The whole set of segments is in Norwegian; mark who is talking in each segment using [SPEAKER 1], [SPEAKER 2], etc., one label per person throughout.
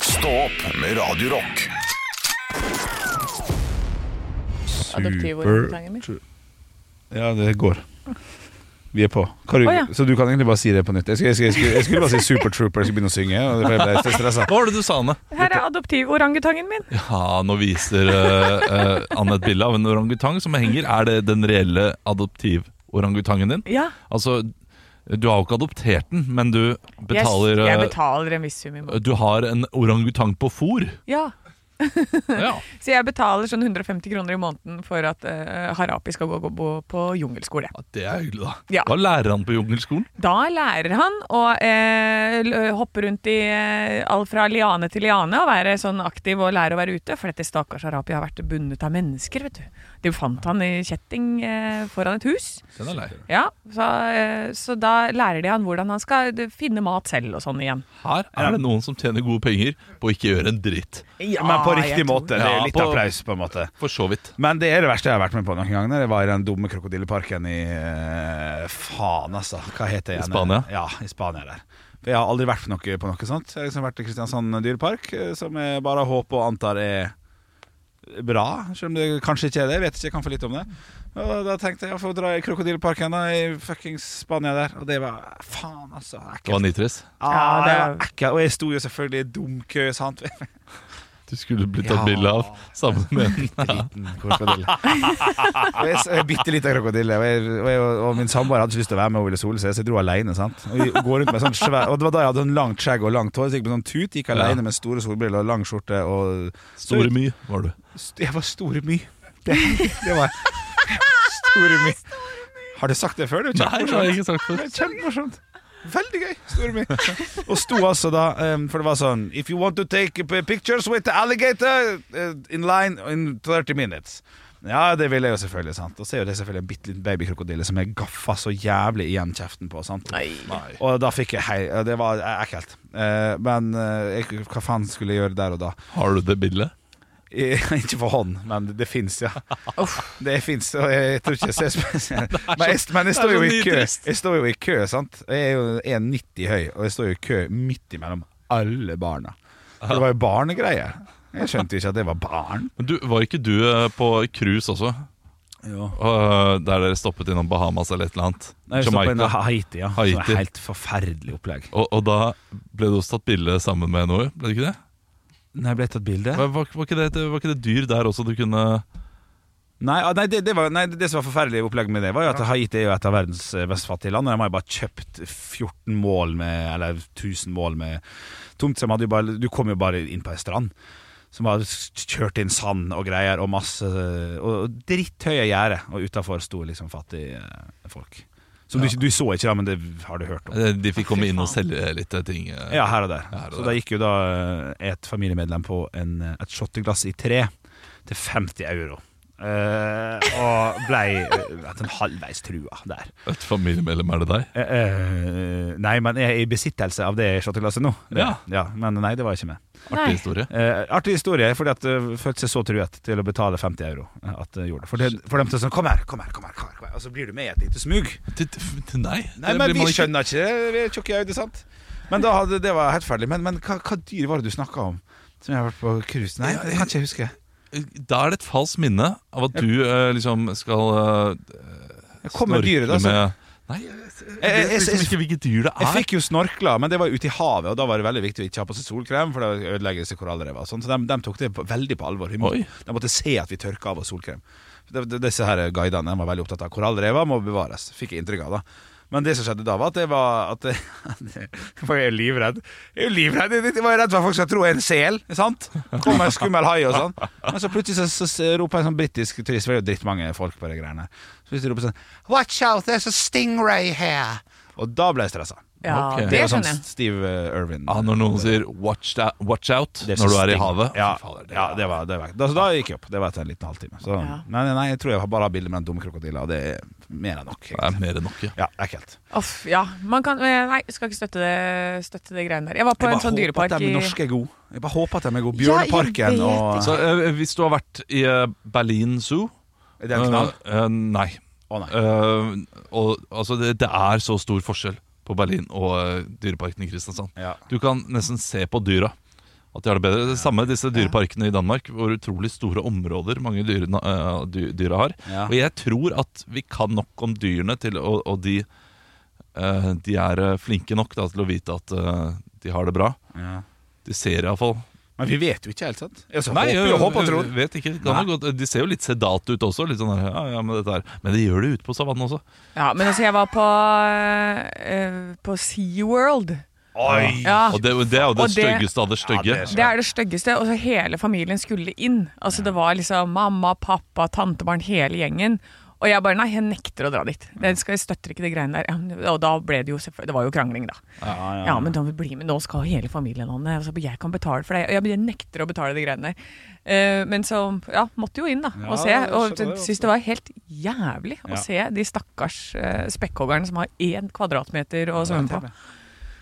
[SPEAKER 1] Stå opp med Radio Rock.
[SPEAKER 2] Super
[SPEAKER 3] Adoptivordforklaringen min.
[SPEAKER 2] Ja, det går. Vi er på. Hva du,
[SPEAKER 3] Å, ja.
[SPEAKER 2] Så du kan egentlig bare si det på nytt. Jeg skulle, jeg skulle, jeg skulle, jeg skulle bare si Super Trooper, jeg skulle begynne å synge. Og det ble jeg stressa.
[SPEAKER 4] Hva var det du sa, Anne?
[SPEAKER 3] Her er adoptivorangutangen min.
[SPEAKER 4] Ja, nå viser eh, eh, Anne et bilde av en orangutang som henger. Er det den reelle adoptivorangutangen din?
[SPEAKER 3] Ja,
[SPEAKER 4] Altså, du har jo ikke adoptert den, men du
[SPEAKER 3] jeg,
[SPEAKER 4] betaler
[SPEAKER 3] jeg
[SPEAKER 4] eh,
[SPEAKER 3] betaler en viss sum i måneden.
[SPEAKER 4] Du har en orangutang på fôr.
[SPEAKER 3] Ja.
[SPEAKER 4] Ja.
[SPEAKER 3] Så jeg betaler sånn 150 kroner i måneden for at eh, Harapi skal gå, gå gå på jungelskole.
[SPEAKER 4] Ja, Det er hyggelig, da.
[SPEAKER 3] Ja.
[SPEAKER 4] Hva lærer han på jungelskolen?
[SPEAKER 3] Da lærer han å eh, l- hoppe rundt i eh, all fra liane til liane og være sånn aktiv og lære å være ute. For dette stakkars Harapi har vært bundet av mennesker, vet du. De fant han i kjetting eh, foran et hus.
[SPEAKER 4] Den er lei.
[SPEAKER 3] Ja, så, eh, så da lærer de han hvordan han skal eh, finne mat selv og sånn igjen.
[SPEAKER 4] Her er det noen som tjener gode penger på å ikke gjøre en dritt.
[SPEAKER 2] Ja, men på
[SPEAKER 3] Ja,
[SPEAKER 2] riktig
[SPEAKER 3] Ah, jeg tror-
[SPEAKER 2] måte. Det er
[SPEAKER 4] Ja,
[SPEAKER 2] jo litt
[SPEAKER 4] på-
[SPEAKER 2] applaus, på en måte.
[SPEAKER 4] For så vidt.
[SPEAKER 2] Men det er det verste jeg har vært med på noen gang. Når jeg var i den dumme krokodilleparken i eh, Faen, altså. Hva heter
[SPEAKER 4] I
[SPEAKER 2] det igjen?
[SPEAKER 4] Spania?
[SPEAKER 2] Ja, i Spania der. For jeg har aldri vært på noe, på noe sånt. Jeg har liksom vært i Kristiansand dyrepark, eh, som jeg bare håper og antar er bra. Selv om det kanskje ikke er det. Jeg vet ikke, jeg kan for litt om det. Og da tenkte jeg jeg får dra i krokodilleparken da, i fuckings Spania der. Og det var faen, altså.
[SPEAKER 4] Det var
[SPEAKER 2] Ekkelt.
[SPEAKER 4] nitrist.
[SPEAKER 2] Ah,
[SPEAKER 3] Ja,
[SPEAKER 2] det
[SPEAKER 3] det-
[SPEAKER 2] var ekkelt. Og jeg sto jo selvfølgelig i dumkø, sant.
[SPEAKER 4] Du skulle blitt
[SPEAKER 2] Ja.
[SPEAKER 4] tatt bilde av sammen med den.
[SPEAKER 2] liten krokodille. og jeg, jeg bitte liten krokodille. Og, jeg, og, jeg, og min samboer hadde ikke lyst til å være med og ville sole seg, så jeg dro alene. Sant? Og, jeg går rundt med sånn svær, og det var da jeg hadde sånn langt skjegg og langt hår. Så jeg gikk med sånn tut, gikk alene med store solbriller og lang skjorte. Og
[SPEAKER 4] Store My var du.
[SPEAKER 2] st jeg var store my. Det, det var jeg. Store my. Har du sagt det før? Det er jo
[SPEAKER 4] Nei, det har jeg ikke sagt før.
[SPEAKER 2] det er Kjempemorsomt. Veldig gøy. Store mi. Og sto altså da, um, for det var sånn If you want to take p- pictures with the alligator uh, in line in 30 minutes. Ja, det ville jeg jo selvfølgelig. sant Og så er jo det selvfølgelig en bitte liten babykrokodille som jeg gaffa så jævlig igjen kjeften på. sant Og da fikk jeg hei og Det var eh, ekkelt. Eh, men eh, jeg, hva faen skulle jeg gjøre der og da?
[SPEAKER 4] Har du det bildet?
[SPEAKER 2] I- Ikke for hånd, men det fins, ja. Det fins, og jeg tror ikke jeg ser spesielt Men jeg, men jeg
[SPEAKER 4] det
[SPEAKER 2] står
[SPEAKER 4] er
[SPEAKER 2] jo
[SPEAKER 4] så
[SPEAKER 2] i kø,
[SPEAKER 4] nitrist.
[SPEAKER 2] jeg står jo i kø, sant. Jeg er jo 1,90 høy, og jeg står jo i kø midt imellom alle barna. For det var jo barnegreier. Jeg skjønte jo ikke at det var barn.
[SPEAKER 4] Men du, Var ikke du eh, på cruise også? Eh, Der dere stoppet innom Bahamas eller et eller annet?
[SPEAKER 2] Nei, jeg står på en Haiti, ja. Så det
[SPEAKER 4] Haiti.
[SPEAKER 2] er helt forferdelig opplegg.
[SPEAKER 4] Og, og da ble det også tatt bilde sammen med noe? ble det ikke det?
[SPEAKER 2] Nei, ble jeg tatt bilde?
[SPEAKER 4] Var, var, var, ikke det, et- var ikke det dyr der også du kunne
[SPEAKER 2] Nei, ah, nei, det, det var, nei, det som var forferdelig opplegg med det, var jo at Haiti er jo et av verdens eh, mest fattige land. Og de har jo bare kjøpt 14 mål med, eller 1000 mål med tomt. Så de hadde jo bare, du kom jo bare inn på ei strand som var kjørt inn sand og greier og masse Og dritthøye gjerder, og utafor sto liksom fattige eh, folk. Som du, ikke- du så ikke, da, men det har du hørt om.
[SPEAKER 4] Eh, De fikk komme inn og selge litt eh, ting? eh.
[SPEAKER 2] Ja, her og der.
[SPEAKER 4] Her og
[SPEAKER 2] så
[SPEAKER 4] der.
[SPEAKER 2] da gikk jo da eh, et familiemedlem på en, eh, et shotteglass i tre til 50 euro. Eh, og blei eh, at en halvveis trua der.
[SPEAKER 4] Et familiemedlem, er det deg?
[SPEAKER 2] Eh, eh, nei, men jeg er i besittelse av det shotteglasset nå. Det-
[SPEAKER 4] Ja.
[SPEAKER 2] Men nei, det var ikke meg.
[SPEAKER 4] Artig
[SPEAKER 3] Nei.
[SPEAKER 4] historie.
[SPEAKER 2] Eh, artig historie, fordi at jeg følte seg så truet til å betale 50 euro. eh, At jeg gjorde det. For, det, for dem til sånn Kom her, kom her, kom her, kom her, kom her. Og så blir du med i et lite smug.
[SPEAKER 4] Til- til- Nei,
[SPEAKER 2] Nei,
[SPEAKER 4] det
[SPEAKER 2] men
[SPEAKER 4] blir
[SPEAKER 2] vi
[SPEAKER 4] man ikke.
[SPEAKER 2] skjønner ikke det. Vi er tjukke i øyet, sant? Men da hadde, det var helt ferdig. Men, men hva, hva dyr var det du snakka om? Som jeg har vært på cruise? Nei, det kan ikke jeg huske.
[SPEAKER 4] eh, Da er det et falskt minne av at du eh, liksom skal eh,
[SPEAKER 2] Jeg kom med dyret, da. Så.
[SPEAKER 4] Nei, jeg, jeg,
[SPEAKER 2] Jeg- jeg-
[SPEAKER 4] vet liksom ikke hvilket dyr det
[SPEAKER 2] Jeg
[SPEAKER 4] er.
[SPEAKER 2] fikk jo snorkla, men det var jo ute i havet, og da var det veldig viktig å ikke ha på seg solkrem, for det ødelegger disse korallrevene og sånn. Så de, de tok det på, veldig på alvor. De må-
[SPEAKER 4] Oi.
[SPEAKER 2] de måtte se at vi tørka av oss solkrem. De, de, disse her guidene de var veldig opptatt av korallrever må bevares, fikk jeg inntrykk av da. Men det som skjedde da, var at jeg var at jeg, jeg var jo livredd. Jeg er jo livredd, jeg var jo redd for at folk skal tro jeg er en sel, sant? Kommer en skummel hai og sånn. Men så plutselig så, så, så roper en sånn britisk turist, for det er jo drittmange folk på de greiene. Så plutselig roper han sånn Watch out, there's a stingray here! Og da ble jeg stressa.
[SPEAKER 3] Ja,
[SPEAKER 4] Ok.
[SPEAKER 3] det
[SPEAKER 2] Det er sånn
[SPEAKER 3] skjønner jeg.
[SPEAKER 2] Steve eh, Irwin.
[SPEAKER 4] Ja, Ah, når noen sier 'watch, da, watch out'
[SPEAKER 2] Det er
[SPEAKER 4] når
[SPEAKER 2] så
[SPEAKER 4] du er i
[SPEAKER 2] sting.
[SPEAKER 4] havet.
[SPEAKER 2] Ja,
[SPEAKER 4] Fy fader, det-
[SPEAKER 2] ja det var, det var da, Så da gikk jeg opp. Det var etter en liten halvtime. Så,
[SPEAKER 3] Ja.
[SPEAKER 2] nei, nei, nei, jeg tror jeg bare har bilde med den dumme krokodilla, og det er mer enn nok.
[SPEAKER 4] det er
[SPEAKER 2] egentlig.
[SPEAKER 4] mer enn nok. Ja.
[SPEAKER 2] Ja, ekkelt.
[SPEAKER 3] Uff, ja. Man kan eh, Nei, skal ikke støtte det, støtte det greiene der. Jeg var på
[SPEAKER 2] Jeg
[SPEAKER 3] en
[SPEAKER 2] bare
[SPEAKER 3] sånn
[SPEAKER 2] håper at
[SPEAKER 3] dyrepark
[SPEAKER 2] de
[SPEAKER 3] i
[SPEAKER 2] norske er gode. Jeg bare håper at de er gode.
[SPEAKER 3] Ja, jeg
[SPEAKER 2] Bjørneparken
[SPEAKER 3] vet
[SPEAKER 2] og
[SPEAKER 4] Så eh, hvis du har vært i eh, Berlin Zoo
[SPEAKER 2] Er det en knall?
[SPEAKER 4] eh, eh, Nei.
[SPEAKER 2] Å nei.
[SPEAKER 4] Eh, og, altså, det, det er så stor forskjell på Berlin og eh, dyreparken i Kristiansand.
[SPEAKER 2] Ja.
[SPEAKER 4] Du kan nesten se på dyra. At de har det bedre. Det samme disse dyreparkene i Danmark, hvor utrolig store områder mange dyre, eh, dy- dyra har.
[SPEAKER 2] Ja.
[SPEAKER 4] Og jeg tror at vi kan nok om dyrene til Og, og de, eh, de er eh, flinke nok da, til å vite at eh, de har det bra.
[SPEAKER 2] Ja.
[SPEAKER 4] De ser iallfall
[SPEAKER 2] Men vi vet jo ikke helt, sant? Altså, håper, jo, håper og tror.
[SPEAKER 4] vet ikke. Det kan
[SPEAKER 2] Nei.
[SPEAKER 4] jo godt- De ser jo litt sedate ut også. Litt sånn der, ja, ja, men, dette her. men de gjør det ute på savannen også.
[SPEAKER 3] Ja, men altså, jeg var på, eh, på SeaWorld.
[SPEAKER 2] Oi!
[SPEAKER 3] Ja.
[SPEAKER 4] Og det, det er jo
[SPEAKER 3] Og
[SPEAKER 4] det,
[SPEAKER 3] det-
[SPEAKER 4] styggeste av det stygge.
[SPEAKER 2] det er-
[SPEAKER 3] Det er det styggeste. Og så hele familien skulle inn. Altså Det var liksom mamma, pappa, tantebarn, hele gjengen. Og jeg bare nei, jeg nekter å dra dit. Det skal, jeg støtter ikke de greiene der. Ja, men- Og da ble det jo selvfølgelig Det var jo krangling, da.
[SPEAKER 2] Ja, ja.
[SPEAKER 3] Ja, men da vil bli med. Nå skal hele familien Anne. Altså, jeg kan betale for deg. Og jeg bare nekter å betale de greiene der. Eh, men så ja, måtte jo inn, da.
[SPEAKER 2] Ja,
[SPEAKER 3] Og se.
[SPEAKER 2] jeg
[SPEAKER 3] Og
[SPEAKER 2] skjønner det altså.
[SPEAKER 3] syns det var helt jævlig
[SPEAKER 2] Ja.
[SPEAKER 3] å se de stakkars eh, spekkhoggerne som har én kvadratmeter å svømme på.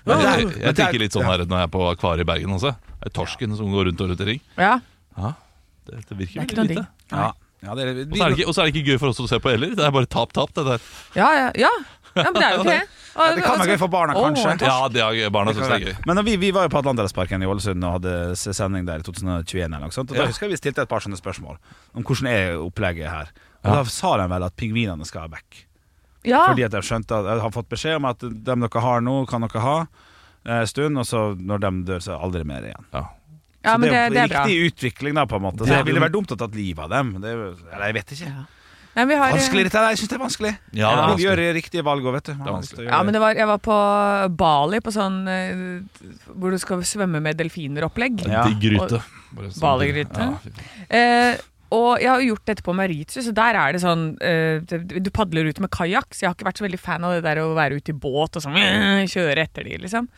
[SPEAKER 4] Men
[SPEAKER 2] Ja,
[SPEAKER 4] jeg,
[SPEAKER 2] men
[SPEAKER 4] jeg
[SPEAKER 2] det er-
[SPEAKER 4] tenker litt sånn her når jeg er på akvariet i Bergen også. Det er torsken som går rundt og rundt i ring.
[SPEAKER 3] Ja,
[SPEAKER 4] Ja, det, det
[SPEAKER 3] det
[SPEAKER 4] virker
[SPEAKER 3] er ikke
[SPEAKER 4] veldig
[SPEAKER 3] noe
[SPEAKER 4] lite.
[SPEAKER 3] digg.
[SPEAKER 2] Ja. Ja, det er,
[SPEAKER 4] Og så er det ikke- og så er det ikke gøy for oss å se på heller. Det er bare tap, tap. det der
[SPEAKER 3] Ja, ja, ja. ja, men det er jo ikke det. Og-
[SPEAKER 2] Ja, det kan være gøy for barna,
[SPEAKER 3] Å,
[SPEAKER 2] kanskje.
[SPEAKER 3] en torsk.
[SPEAKER 4] Ja, det er gøy. Barna syns det er gøy.
[SPEAKER 2] Men da vi, vi var jo på Atlanterhavsparken i Ålesund og hadde s- sending der i 2021. Eller noe sånt, og
[SPEAKER 4] Ja.
[SPEAKER 2] Da husker jeg vi stilte et par sånne spørsmål om hvordan er opplegget her. Og
[SPEAKER 4] Ja.
[SPEAKER 2] Da sa de vel at pingvinene skal back.
[SPEAKER 3] Ja.
[SPEAKER 2] Fordi at de skjønte at jeg har fått beskjed om at dem dere har nå, kan dere ha en stund, og så når de dør, så aldri mer igjen.
[SPEAKER 4] Ja.
[SPEAKER 3] ja, men
[SPEAKER 2] så
[SPEAKER 3] det,
[SPEAKER 2] det,
[SPEAKER 3] det er bra.
[SPEAKER 2] riktig utvikling, da, på en måte. Så
[SPEAKER 4] Ja.
[SPEAKER 2] det ville vært dumt å tatt livet av dem. Det, er jo- eller jeg vet ikke.
[SPEAKER 3] Ja. Nei, vi har,
[SPEAKER 2] Vanskelig dette, her, jeg syns det er vanskelig.
[SPEAKER 4] Ja, det er
[SPEAKER 2] Man
[SPEAKER 4] vanskelig.
[SPEAKER 2] gjør riktige valg òg, vet du. Man
[SPEAKER 4] Det er
[SPEAKER 2] har lyst til å gjøre
[SPEAKER 3] eh, ja, men det var, jeg var på Bali, på sånn eh, hvor du skal svømme med delfiner-opplegg.
[SPEAKER 2] Ja.
[SPEAKER 4] Digg gryte. Bare sånn-
[SPEAKER 3] Balegryte.
[SPEAKER 4] Ja, fy faen.
[SPEAKER 3] Eh, og jeg har jo gjort dette på Mauritius, og der er det sånn eh, det- Du padler ut med kajakk, så jeg har ikke vært så veldig fan av det der å være ute i båt og sånn eh, Kjøre etter de, liksom.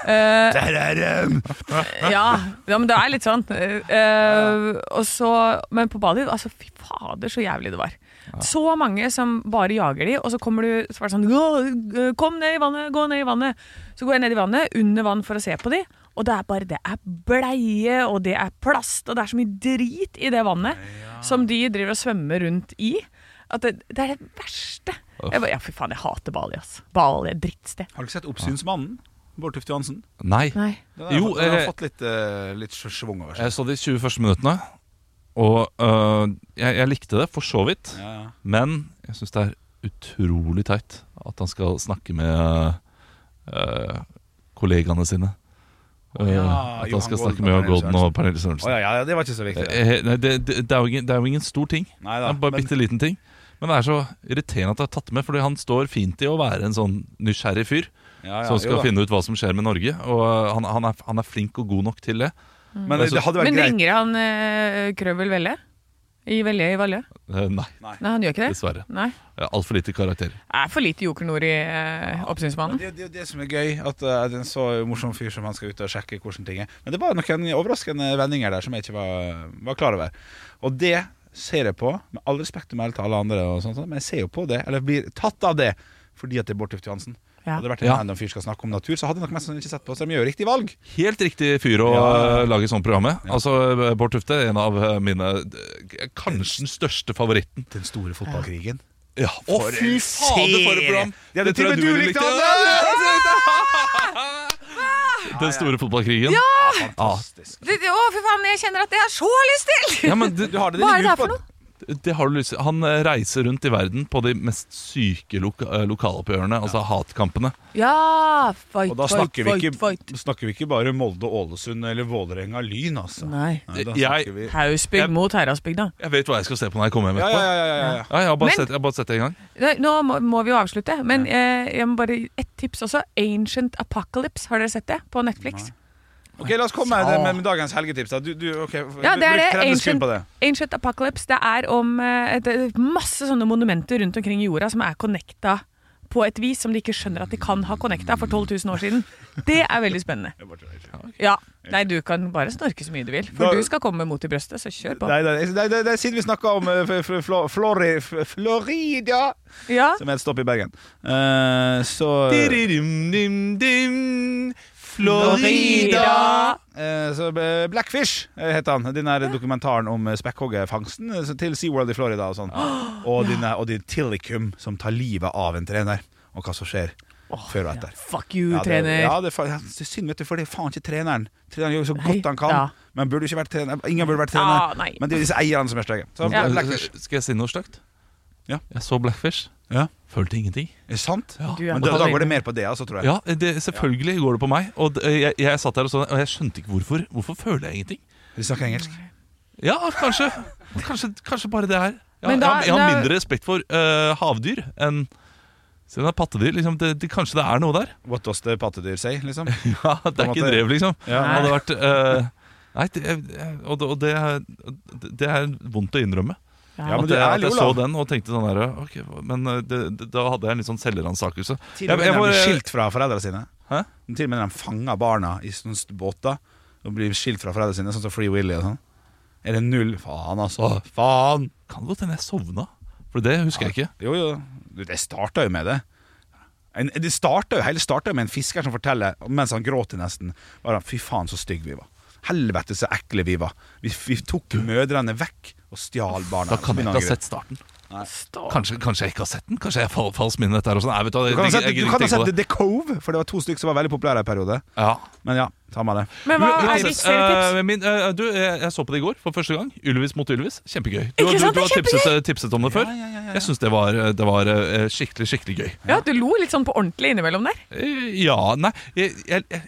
[SPEAKER 3] Eh,
[SPEAKER 2] Der er dem!
[SPEAKER 3] ja, ja, men det er litt sånn. Eh, eh, og så, men på Bali, altså fy fader så jævlig det var. Så mange som bare jager de, og så kommer du så er det sånn «Gå, Kom ned i vannet, gå ned i vannet. Så går jeg ned i vannet, under vann for å se på de. Og det er bare, det er bleie, og det er plast, og det er så mye drit i det vannet som de driver og svømmer rundt i. At det, det er det verste.
[SPEAKER 4] Uff.
[SPEAKER 3] Jeg bare, ja, fy faen, jeg hater Bali, ass. Bali er et drittsted.
[SPEAKER 2] Har du ikke sett Oppsynsmannen? Bård Tufte Johansen.
[SPEAKER 4] Nei.
[SPEAKER 3] Nei.
[SPEAKER 2] Den har,
[SPEAKER 4] Jo,
[SPEAKER 2] fått, den har
[SPEAKER 4] eh,
[SPEAKER 2] fått litt, eh, litt schwung over seg.
[SPEAKER 4] Jeg så de 20 første minuttene, og øh, jeg, jeg likte det for så vidt.
[SPEAKER 2] Ja, ja.
[SPEAKER 4] Men jeg syns det er utrolig teit at han skal snakke med øh, kollegaene sine. Øh,
[SPEAKER 2] ja,
[SPEAKER 4] at han
[SPEAKER 2] Johan
[SPEAKER 4] skal
[SPEAKER 2] Golden
[SPEAKER 4] snakke
[SPEAKER 2] og
[SPEAKER 4] med Johan
[SPEAKER 2] Pernille
[SPEAKER 4] Golden og Pernille Sørensen.
[SPEAKER 2] Å, ja, ja, det var ikke så viktig. det.
[SPEAKER 4] Eh, Nei, det, det, det, er jo ingen, det er jo ingen stor ting.
[SPEAKER 2] Nei
[SPEAKER 4] Det
[SPEAKER 2] da.
[SPEAKER 4] er bare
[SPEAKER 2] men-
[SPEAKER 4] bitte liten ting. Men det er så irriterende at jeg har tatt det med, fordi han står fint i å være en sånn nysgjerrig fyr
[SPEAKER 2] ja, ja,
[SPEAKER 4] som
[SPEAKER 2] jo
[SPEAKER 4] skal
[SPEAKER 2] da.
[SPEAKER 4] finne ut hva som skjer med Norge. Og eh, han, han, er, han er flink og god nok til det.
[SPEAKER 2] Men det, det hadde vært
[SPEAKER 3] Men
[SPEAKER 2] greit.
[SPEAKER 3] ringer han eh, Krøvel Velle? I Velle i Valle?
[SPEAKER 4] Eh, Nei,
[SPEAKER 3] Nei, han gjør ikke det?
[SPEAKER 4] dessverre.
[SPEAKER 3] Nei.
[SPEAKER 4] Altfor lite karakter.
[SPEAKER 3] Det er for lite jokernord i eh, Oppsynsmannen.
[SPEAKER 2] Det er jo det, er jo det som er gøy, at eh, det er en så morsom fyr som han skal ut og sjekke hvordan ting er. Men det var noen overraskende vendinger der som jeg ikke var, var klar over. Og det ser jeg på, med all respekt å melde til alle andre, og sånt, sånt, men jeg ser jo på det, eller blir tatt av det, fordi at det er Bård Tufte Johansen.
[SPEAKER 3] Ja.
[SPEAKER 2] Hadde det vært en
[SPEAKER 4] Ja.
[SPEAKER 2] random fyr som skal snakke om natur, så hadde nok mest sannsynlig ikke sett på, så de gjør riktig valg.
[SPEAKER 4] Helt riktig fyr å
[SPEAKER 2] Ja.
[SPEAKER 4] eh, lage sånt program med. Altså, eh, Bård Tufte, en av eh, mine eh, Kanskje den største favoritten.
[SPEAKER 2] Den store fotballkrigen.
[SPEAKER 4] Ja, Å,
[SPEAKER 2] For
[SPEAKER 4] fy
[SPEAKER 2] en
[SPEAKER 4] fader, for et program!
[SPEAKER 2] serie! Ja, det
[SPEAKER 4] tror jeg
[SPEAKER 2] til og med
[SPEAKER 4] ville
[SPEAKER 2] du likte,
[SPEAKER 4] Den store fotballkrigen. Ah,
[SPEAKER 2] Fantastisk.
[SPEAKER 3] Det- Å, fy faen, jeg kjenner at det har jeg så lyst til!
[SPEAKER 4] Ja, men du,
[SPEAKER 2] Du har det
[SPEAKER 3] Hva er
[SPEAKER 2] din
[SPEAKER 3] det her
[SPEAKER 2] lur
[SPEAKER 3] for
[SPEAKER 2] på.
[SPEAKER 3] noe?
[SPEAKER 4] Det har du lyst til. Han eh, reiser rundt i verden på de mest syke loka eh, lokaloppgjørene, altså hatkampene.
[SPEAKER 3] Ja, fight,
[SPEAKER 2] Og da
[SPEAKER 3] fight,
[SPEAKER 2] snakker vi
[SPEAKER 3] fight,
[SPEAKER 2] ikke,
[SPEAKER 3] fight.
[SPEAKER 2] snakker vi ikke bare Molde, Ålesund eller Vålerenga Lyn, altså.
[SPEAKER 3] Nei.
[SPEAKER 2] Nei, da
[SPEAKER 4] Jeg-
[SPEAKER 2] snakker vi
[SPEAKER 3] Hausbygd
[SPEAKER 4] Jeg-
[SPEAKER 3] mot Heradsbygda.
[SPEAKER 4] Jeg vet hva jeg skal se på når jeg kommer hjem
[SPEAKER 2] Ja, ja,
[SPEAKER 4] etterpå. Ja,
[SPEAKER 2] ja, ja, ja, ja.
[SPEAKER 4] jeg, har bare
[SPEAKER 3] Men-
[SPEAKER 4] sett, jeg har bare sett det en gang.
[SPEAKER 3] Nei, Nå må, må vi jo avslutte, men eh, jeg må bare ett tips også. Ancient Apocalypse, har dere sett det? På Netflix.
[SPEAKER 2] Ok, La oss komme med, med, med dagens helgetips. da Du, du, ok,
[SPEAKER 3] Ja, det er det.
[SPEAKER 2] bruk 30 sekunder
[SPEAKER 3] Ancient,
[SPEAKER 2] på det.
[SPEAKER 3] Ancient Apocalypse. Det er om eh, et, et, masse sånne monumenter rundt omkring i jorda som er connecta på et vis som de ikke skjønner at de kan ha connecta for 12 000 år siden. Det er veldig spennende.
[SPEAKER 2] Jeg bare tror jeg ikke-
[SPEAKER 3] Ja. Nei, du kan bare snorke så mye du vil,
[SPEAKER 2] Da-
[SPEAKER 3] for du skal komme med mot i brøstet, så kjør på.
[SPEAKER 2] Nei, nei, nei, nei, nei, siden vi snakka om eh, f- f- Flo- Flori, f- Florida,
[SPEAKER 3] Ja.
[SPEAKER 2] som er et stopp i Bergen, Eh, så
[SPEAKER 3] Florida.
[SPEAKER 2] Eh, Så eh, Blackfish eh, heter han. Den her dokumentaren om eh, spekkhoggerfangsten eh, så til SeaWorld i eh, Florida og sånn. Og, den her- og din Tillicum som tar livet av en trener, og hva som skjer. før og etter.
[SPEAKER 3] Fuck you,
[SPEAKER 2] Ja, det,
[SPEAKER 3] trener.
[SPEAKER 2] ja, det, er fa- ja, det er synd, vet du, for det er faen ikke treneren. Treneren gjør jo så
[SPEAKER 3] Nei,
[SPEAKER 2] godt han kan,
[SPEAKER 3] ja.
[SPEAKER 2] men burde jo ikke vært trener. Ingen burde vært
[SPEAKER 3] Ah,
[SPEAKER 2] trener.
[SPEAKER 3] nei.
[SPEAKER 2] men det er disse eierne som er stygge. Så
[SPEAKER 3] Ja.
[SPEAKER 2] Blackfish.
[SPEAKER 4] Skal jeg si noe stygt?
[SPEAKER 2] Ja.
[SPEAKER 4] Jeg så Blackfish.
[SPEAKER 2] Ja.
[SPEAKER 4] Følte ingenting.
[SPEAKER 2] Er det sant?
[SPEAKER 4] Ja.
[SPEAKER 3] Du er
[SPEAKER 2] Men
[SPEAKER 3] på
[SPEAKER 2] da, da
[SPEAKER 3] høyden.
[SPEAKER 2] går det mer på det, altså, tror jeg.
[SPEAKER 4] Ja, det, selvfølgelig går det på meg. Og det, jeg, jeg satt der og så det, og jeg skjønte ikke hvorfor. Hvorfor føler jeg ingenting?
[SPEAKER 2] Vi snakker engelsk.
[SPEAKER 4] Ja, kanskje. Kanskje, kanskje bare det her. Ja,
[SPEAKER 3] Men da-
[SPEAKER 4] jeg, har- jeg har
[SPEAKER 3] da-
[SPEAKER 4] mindre respekt for eh, havdyr enn siden det er pattedyr. Liksom, det, det, kanskje det er noe der?
[SPEAKER 2] What does the pattedyr say, liksom?
[SPEAKER 4] Ja, Det er
[SPEAKER 2] På en
[SPEAKER 4] ikke
[SPEAKER 2] måte.
[SPEAKER 4] drev, liksom.
[SPEAKER 2] Ja.
[SPEAKER 4] Det hadde vært eh, Nei, det, jeg- og, det, og det, er- det er vondt å innrømme.
[SPEAKER 2] Ja, men
[SPEAKER 4] at
[SPEAKER 2] du
[SPEAKER 4] jeg,
[SPEAKER 2] er
[SPEAKER 4] at jeg så
[SPEAKER 2] ærlig, Olav.
[SPEAKER 4] den og tenkte sånn her ok, Men eh, det, det, da hadde jeg en litt sånn selvransakelse.
[SPEAKER 2] Til og med når de blir
[SPEAKER 4] bare-
[SPEAKER 2] skilt fra foreldrene sine.
[SPEAKER 4] Hæ?
[SPEAKER 2] Til og med når de fanger barna i sånne st- båter og blir skilt fra foreldrene sine, sånn som Free Willy og sånn. Er det null? Faen, altså. Faen!
[SPEAKER 4] Kan det godt hende jeg sovna. For det husker jeg ikke.
[SPEAKER 2] Jo, jo. Du, Det starta jo med det. En, det starta jo, hele starta jo med en fisker som forteller, mens han gråter nesten, bare, fy faen så stygge vi var. Helvete så ekle vi var. Vi, vi tok mødrene vekk og stjal barna.
[SPEAKER 4] Da kan jeg
[SPEAKER 2] Så
[SPEAKER 4] ikke
[SPEAKER 2] begynner han
[SPEAKER 4] ha
[SPEAKER 2] å
[SPEAKER 4] sett starten.
[SPEAKER 3] Stå-
[SPEAKER 4] Kanskje, kanskje jeg ikke har sett den? Kanskje jeg har falskt minne dette her og sånn? Nei, vet du hva, jeg,
[SPEAKER 2] grine. Du kan
[SPEAKER 4] jeg,
[SPEAKER 2] ha sett,
[SPEAKER 4] jeg,
[SPEAKER 2] du
[SPEAKER 4] gidder ikke
[SPEAKER 2] kan ha
[SPEAKER 4] tenke
[SPEAKER 2] sett
[SPEAKER 4] på det.
[SPEAKER 2] The Cove, for det var to stykker som var veldig populære i en periode.
[SPEAKER 4] Ja.
[SPEAKER 2] Men ja, ta med det.
[SPEAKER 3] Men hva er
[SPEAKER 4] Uansett,
[SPEAKER 3] ditt serietips?
[SPEAKER 4] eh, min, eh, du, jeg, jeg så på det i går for første gang. Ylvis mot Ylvis. Kjempegøy. Du,
[SPEAKER 3] Ikke
[SPEAKER 4] du,
[SPEAKER 3] sant,
[SPEAKER 4] du
[SPEAKER 3] det er
[SPEAKER 4] har tipset, tipset om det før.
[SPEAKER 2] Ja, ja, ja, ja, ja.
[SPEAKER 4] Jeg syns det var, det var eh, skikkelig, skikkelig gøy.
[SPEAKER 3] Ja, du lo litt sånn på ordentlig innimellom der.
[SPEAKER 4] Eh, Ja, nei jeg, jeg, jeg,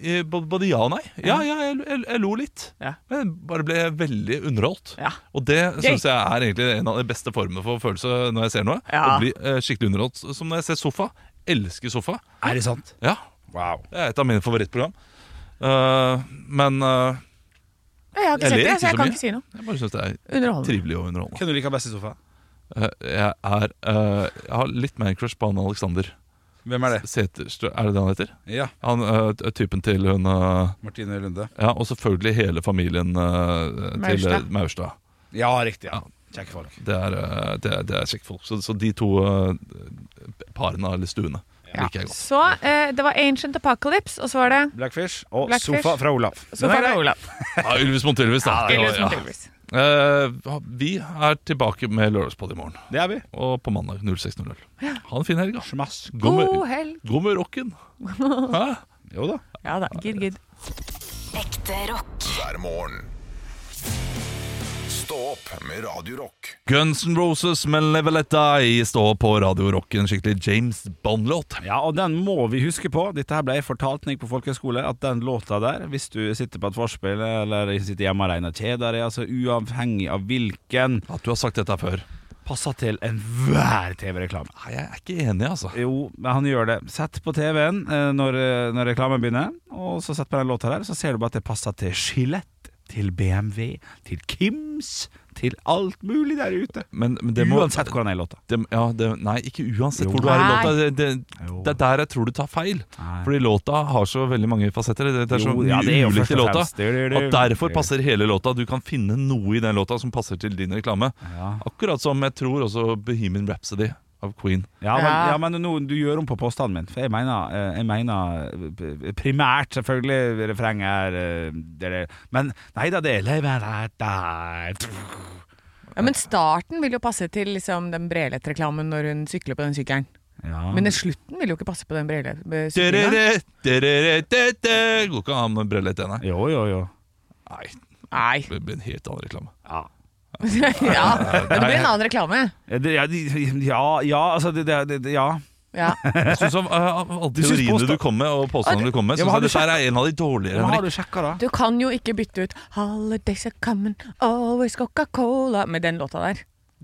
[SPEAKER 4] eh, bo- Både ja og nei. Ja, ja, jeg, jeg, jeg lo litt.
[SPEAKER 3] Ja.
[SPEAKER 4] Men jeg bare ble veldig underholdt.
[SPEAKER 3] Ja.
[SPEAKER 4] Og det
[SPEAKER 3] Gøy.
[SPEAKER 4] syns jeg er egentlig en av de beste formene for følelse når jeg ser noe.
[SPEAKER 3] Ja.
[SPEAKER 4] Å bli eh, skikkelig underholdt. Som når jeg ser sofa. Elsker sofa.
[SPEAKER 2] Er det sant?
[SPEAKER 4] Ja,
[SPEAKER 2] Wow.
[SPEAKER 4] det er et av mine favorittprogram. Eh, men eh,
[SPEAKER 3] Ja, Jeg har ikke
[SPEAKER 4] Jeg
[SPEAKER 3] sett det,
[SPEAKER 4] ler ikke
[SPEAKER 3] så
[SPEAKER 4] så
[SPEAKER 3] jeg kan
[SPEAKER 4] mye.
[SPEAKER 3] ikke si noe.
[SPEAKER 4] jeg bare syns det er
[SPEAKER 3] Underholdende.
[SPEAKER 4] trivelig og underholdende.
[SPEAKER 2] Hvem du liker best i sofa?
[SPEAKER 4] Eh, jeg, er, eh, jeg har litt mer crush på han Alexander
[SPEAKER 2] Hvem er det?
[SPEAKER 4] Seterstø. Er det det han heter?
[SPEAKER 2] Ja,
[SPEAKER 4] Han eh, t- Typen til hun eh,
[SPEAKER 2] Martine Lunde.
[SPEAKER 4] Ja, og selvfølgelig hele familien eh, til eh,
[SPEAKER 3] Maurstad.
[SPEAKER 4] Maurstad.
[SPEAKER 2] Ja, riktig. ja Kjekke folk.
[SPEAKER 4] Det er, eh, det er, det er kjekke folk. Så, så de to eh, parene eller stuene
[SPEAKER 3] Ja.
[SPEAKER 4] liker jeg godt.
[SPEAKER 3] Så eh, det var Ancient Apocalypse, og så var det
[SPEAKER 2] Blackfish og
[SPEAKER 3] Blackfish.
[SPEAKER 2] Sofa fra Olav.
[SPEAKER 3] Så
[SPEAKER 2] Den er
[SPEAKER 3] var det
[SPEAKER 2] grei.
[SPEAKER 3] Olav.
[SPEAKER 4] Ja, Ylvis mot Ylvis, da.
[SPEAKER 3] Eller
[SPEAKER 4] Ja,
[SPEAKER 3] som
[SPEAKER 4] ja.
[SPEAKER 3] Elvis.
[SPEAKER 4] Eh, vi er tilbake med Lørdagspod i morgen.
[SPEAKER 2] Det er vi.
[SPEAKER 4] Og på mandag 06.00. Ha en fin helg, da.
[SPEAKER 2] Smask.
[SPEAKER 4] God
[SPEAKER 3] God
[SPEAKER 4] med-
[SPEAKER 3] helg.
[SPEAKER 4] God med rocken. Hæ?
[SPEAKER 2] Jo da.
[SPEAKER 3] Ja da. Gidd, gidd.
[SPEAKER 5] Ekte rock.
[SPEAKER 1] hver morgen. Stå opp med Radio Rock.
[SPEAKER 4] Guns N' Roses med Leveletta i stå på Radio Rock, en skikkelig James Bond-låt.
[SPEAKER 2] Ja, og den må vi huske på. Dette her ble jeg fortalt når jeg gikk på folkehøyskole, at den låta der, hvis du sitter på et vorspiel eller sitter hjemme alene og kjeder deg, altså uavhengig av hvilken,
[SPEAKER 4] At du har sagt dette før.
[SPEAKER 2] passer til enhver TV-reklame.
[SPEAKER 4] Nei, jeg er ikke enig, altså.
[SPEAKER 2] Jo, men han gjør det. Sett på TV-en eh, når, eh, når reklamen begynner, og så sett på den låta der, så ser du bare at det passer til Skjelett, til BMW, til Kims, til alt mulig der ute.
[SPEAKER 4] Men, men det må
[SPEAKER 2] Uansett hvordan er låta.
[SPEAKER 4] det, ja, det, Nei, ikke uansett
[SPEAKER 2] Jo.
[SPEAKER 4] hvor du er i
[SPEAKER 3] Nei.
[SPEAKER 4] låta. Det, det,
[SPEAKER 2] Jo.
[SPEAKER 4] det er der jeg tror du tar feil.
[SPEAKER 2] Nei.
[SPEAKER 4] Fordi låta har så veldig mange fasetter. Det, det er så
[SPEAKER 2] Jo,
[SPEAKER 4] mye
[SPEAKER 2] ja, det er jo
[SPEAKER 4] ulikt
[SPEAKER 2] først
[SPEAKER 4] i
[SPEAKER 2] og
[SPEAKER 4] låta.
[SPEAKER 2] fremst. Du, du, du.
[SPEAKER 4] At derfor passer hele låta. Du kan finne noe i den låta som passer til din reklame.
[SPEAKER 2] Ja.
[SPEAKER 4] Akkurat som jeg tror også Bohemian Rhapsody av Queen.
[SPEAKER 2] Ja, men,
[SPEAKER 3] Ja.
[SPEAKER 2] ja, men nå, du gjør om på påstanden min. For jeg mener, eh, jeg mener eh, primært, selvfølgelig, refrenget er eh, det, det. Men nei da, det er
[SPEAKER 3] Ja, men starten vil jo passe til liksom, den Brelett-reklamen når hun sykler på den sykkelen.
[SPEAKER 2] ja.
[SPEAKER 3] Men den slutten vil jo ikke passe på den eh, Brelett-sykkelen.
[SPEAKER 4] Derere, derere, de, de. Går ikke an med brelett, nei.
[SPEAKER 2] Jo, jo, jo.
[SPEAKER 4] Nei,
[SPEAKER 3] Nei.
[SPEAKER 4] det blir en helt annen reklame.
[SPEAKER 2] Ja.
[SPEAKER 3] ja, men det blir en annen reklame.
[SPEAKER 2] Eh, Det, ja, de- ja, ja, altså det, det, det, Ja.
[SPEAKER 3] Ja.
[SPEAKER 4] Jeg synes av, av alle
[SPEAKER 2] eh, synes
[SPEAKER 4] teoriene
[SPEAKER 2] påstand-
[SPEAKER 4] du kom med, og påstandene du kom med,
[SPEAKER 2] Ja,
[SPEAKER 4] synes
[SPEAKER 2] men har
[SPEAKER 4] jeg
[SPEAKER 2] du
[SPEAKER 4] dette her er en av de dårligere.
[SPEAKER 2] Men har
[SPEAKER 4] Henrik.
[SPEAKER 2] du sjekka, da?
[SPEAKER 3] Du kan jo ikke bytte ut 'Holidays are coming, always Coca-Cola' med den låta der.